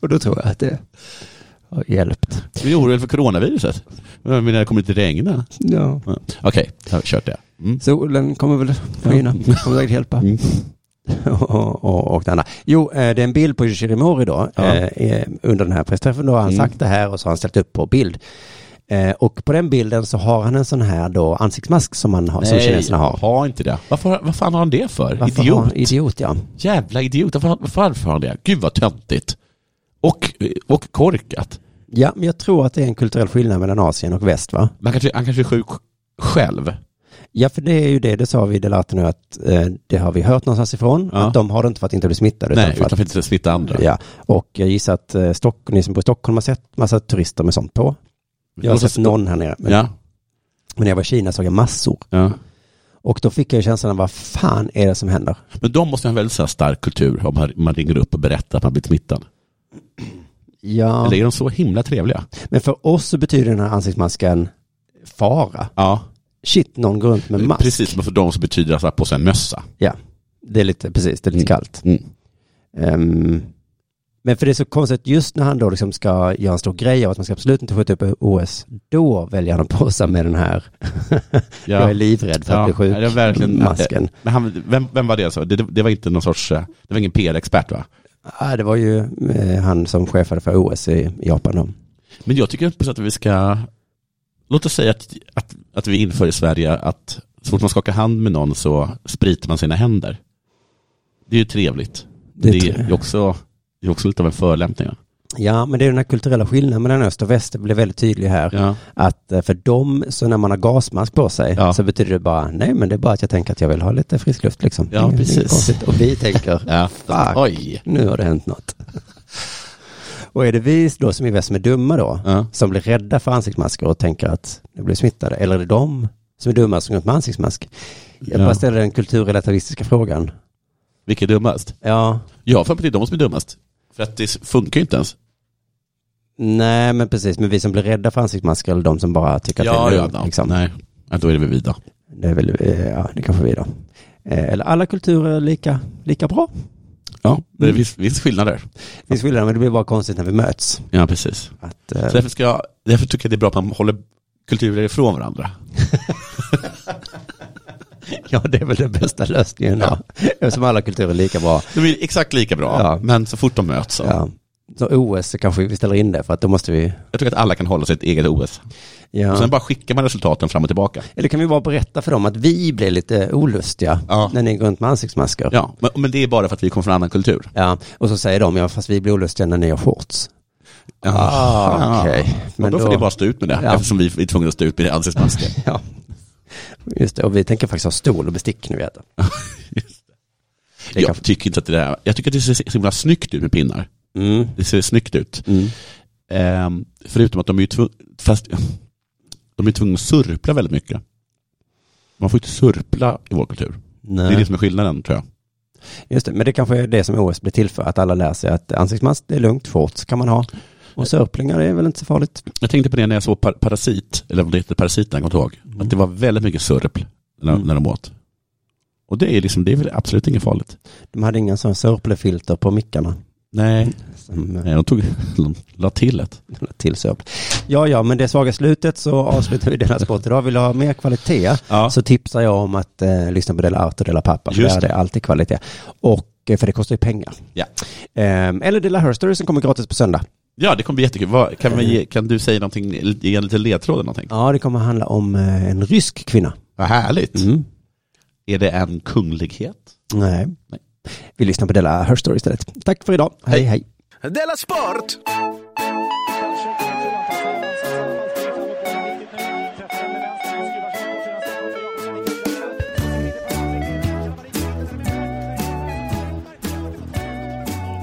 Speaker 1: och då tror jag att det har hjälpt.
Speaker 2: Vi är oroliga för coronaviruset. Men när det kommer inte regna.
Speaker 1: Ja.
Speaker 2: Ja. Okej, jag har kört det. Mm.
Speaker 1: Solen kommer väl skina, kommer säkert hjälpa.
Speaker 2: Mm.
Speaker 1: och, <laughs> och, och det andra. Jo, eh, det är en bild på Shirimori då,
Speaker 2: Ja.
Speaker 1: eh, eh, under den här pressträffen. Då har han
Speaker 2: Mm.
Speaker 1: sagt det här och så har han ställt upp på bild. Eh, och på den bilden så har han en sån här då ansiktsmask som, man har, som kineserna har.
Speaker 2: ha inte det. Varför, vad fan har han det för?
Speaker 1: Varför
Speaker 2: idiot.
Speaker 1: har han- idiot ja.
Speaker 2: Jävla idiot. Varför, varför har han det? Gud vad töntigt. Och, och korkat.
Speaker 1: Ja, men jag tror att det är en kulturell skillnad mellan Asien och väst va?
Speaker 2: Man kanske, han kanske är sjuk själv.
Speaker 1: Ja, för det är ju det, det sa vi i Delarte nu att eh, det har vi hört någonstans ifrån.
Speaker 2: Ja.
Speaker 1: Att de har det inte för att inte bli smittade.
Speaker 2: Nej,
Speaker 1: för
Speaker 2: utan för att inte smitta andra.
Speaker 1: Ja, och jag gissar att eh, Stock, ni som bor i Stockholm har sett massa turister med sånt på. Jag har
Speaker 2: Och så-
Speaker 1: sett någon här nere. Men,
Speaker 2: Ja.
Speaker 1: men när jag var i Kina såg jag massor.
Speaker 2: ja.
Speaker 1: Och då fick jag ju känslan av vad fan är det som händer?
Speaker 2: Men de måste ha en väldigt så här stark kultur om man- man ringer upp och berättar att man blivit smittad.
Speaker 1: Ja.
Speaker 2: Eller är de så himla trevliga?
Speaker 1: Men för oss så betyder den här ansiktsmasken fara.
Speaker 2: Ja,
Speaker 1: Shit, någon går runt med mask.
Speaker 2: precis. Men för dem så betyder det att ha på sig en mössa.
Speaker 1: Det är lite, precis, det är lite
Speaker 2: Mm.
Speaker 1: kallt. Ehm, men för det är så konstigt, att just när han då liksom ska göra en stor grej av att man ska absolut inte skjuta upp OS, då väljer han att posa med den här,
Speaker 2: Ja.
Speaker 1: <laughs> jag är livrädd för att
Speaker 2: Ja,
Speaker 1: bli sjuk,
Speaker 2: nej, det är verkligen-
Speaker 1: masken.
Speaker 2: Men han, vem, vem var det? Så? Det, det var inte någon sorts, eh, det var ingen PR-expert va?
Speaker 1: Ja, det var ju eh, han som chefade för OS i Japan då.
Speaker 2: Men jag tycker på sätt att vi ska, låt oss säga att, att, att vi inför i Sverige att Så fort man skakar hand med någon så spritar man sina händer. Det är ju trevligt.
Speaker 1: Det är
Speaker 2: Det
Speaker 1: tre-
Speaker 2: är ju också, det är också lite av en förolämpning. va?
Speaker 1: Ja, men det är den här kulturella skillnaden mellan öst och väst. Det blev väldigt tydlig här.
Speaker 2: Ja.
Speaker 1: Att eh, för dem, så när man har gasmask på sig,
Speaker 2: Ja.
Speaker 1: så betyder det bara, nej men det är bara att jag tänker att jag vill ha lite frisk luft liksom.
Speaker 2: Ja,
Speaker 1: Inget- inget
Speaker 2: precis.
Speaker 1: konstigt. Och vi tänker,
Speaker 2: <laughs> Ja.
Speaker 1: Ah, Fuck.
Speaker 2: Oj.
Speaker 1: nu har det hänt något. och är det vi då som är väst som är dumma då,
Speaker 2: Ja.
Speaker 1: som blir rädda för ansiktsmasker och tänker att nu blir smittade, eller är det de som är dumma som går runt med ansiktsmask? Jag
Speaker 2: Ja.
Speaker 1: bara ställer den kulturrelativistiska frågan.
Speaker 2: Vilka är dummast?
Speaker 1: Ja,
Speaker 2: Ja, för att det är de som är dummast. För att det funkar ju inte ens.
Speaker 1: nej men precis, men vi som blir rädda för ansiktsmasker eller de som bara tycker att det är dumt. liksom.
Speaker 2: Nej, ja, då är det väl vi då.
Speaker 1: Det är väl, eh, ja, det kanske vi då. Eh, Eller alla kulturer är lika, lika bra.
Speaker 2: Ja, det är viss, viss skillnad där.
Speaker 1: Det finns skillnader, men det blir bara konstigt när vi möts.
Speaker 2: Ja, precis.
Speaker 1: Att, eh,
Speaker 2: Så därför, ska jag, därför tycker jag det är bra att man håller kulturer ifrån varandra.
Speaker 1: <laughs> ja, det är väl den bästa lösningen då. Eftersom alla kulturer är lika bra.
Speaker 2: De är exakt lika bra,
Speaker 1: Ja.
Speaker 2: men så fort de möts så.
Speaker 1: Ja. Så OS så kanske vi ställer in det, för att då måste vi...
Speaker 2: Jag tycker att alla kan hålla sitt eget OS. Och
Speaker 1: Ja.
Speaker 2: sen bara skickar man resultaten fram och tillbaka.
Speaker 1: Eller kan vi bara berätta för dem att vi blir lite olustiga
Speaker 2: Ja.
Speaker 1: när ni går runt med ansiktsmasker.
Speaker 2: Ja, men, men det är bara för att vi kommer från annan kultur.
Speaker 1: Ja, och så säger de, ja fast vi blir olustiga när ni har shorts. Ah, okej.
Speaker 2: Men
Speaker 1: Men
Speaker 2: då,
Speaker 1: då-
Speaker 2: får ni bara stå ut med det,
Speaker 1: Ja.
Speaker 2: eftersom vi är tvungna att stå ut med ansiktsmasker.
Speaker 1: <laughs> Ja. Just det, och vi tänker faktiskt ha stol och bestick nu i äta. Det
Speaker 2: jag
Speaker 1: kanske-
Speaker 2: tycker inte att det där, jag tycker att det ser så himla snyggt ut med pinnar.
Speaker 1: Mm.
Speaker 2: Det ser snyggt ut.
Speaker 1: Mm.
Speaker 2: Ehm, förutom att de är ju tvungna, fast de är tvungna att surpla väldigt mycket. Man får inte surpla i vår kultur. Det är det
Speaker 1: Nej.
Speaker 2: som är skillnaden tror jag.
Speaker 1: Just det, men det kanske är det som OS blir till för, att alla lär sig att ansiktsmask, det är lugnt, shorts kan man ha. Och sörplingar, det är väl inte så farligt.
Speaker 2: Jag tänkte på det när jag såg par Parasit, eller vad det heter, Parasiten, jag kommer inte ihåg. Att det var väldigt mycket surpl när,
Speaker 1: Mm.
Speaker 2: när de åt. Och det är, liksom, det är väl absolut inget farligt.
Speaker 1: De hade inga sån sörplefilter på mickarna.
Speaker 2: Nej,
Speaker 1: Som, eh,
Speaker 2: Nej de, tog, <laughs> de la till ett.
Speaker 1: till sörpl. Ja, ja, men det svaga slutet så avslutar vi denna sport idag. Vill du ha mer kvalitet
Speaker 2: Ja.
Speaker 1: så tipsar jag om att eh, lyssna på Dela Arte och Dela Pappa. För
Speaker 2: Just
Speaker 1: där är
Speaker 2: det.
Speaker 1: det alltid kvalitet. Och, eh, för det kostar ju pengar.
Speaker 2: Ja.
Speaker 1: Ehm, eller Dela Herstory som kommer gratis på söndag.
Speaker 2: ja, det kommer bli jättekul. Vad, kan, vi ge, kan du säga någonting, ge en liten ledtråd eller någonting?
Speaker 1: Ja, det kommer handla om eh, en rysk kvinna.
Speaker 2: Vad härligt.
Speaker 1: Mm.
Speaker 2: Är det en kunglighet?
Speaker 1: Nej.
Speaker 2: Nej.
Speaker 1: Vi lyssnar på Dela Herstory istället. Tack för idag. Hej, hej.
Speaker 3: Della Sport!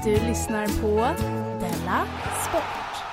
Speaker 4: Du lyssnar på Della Sport.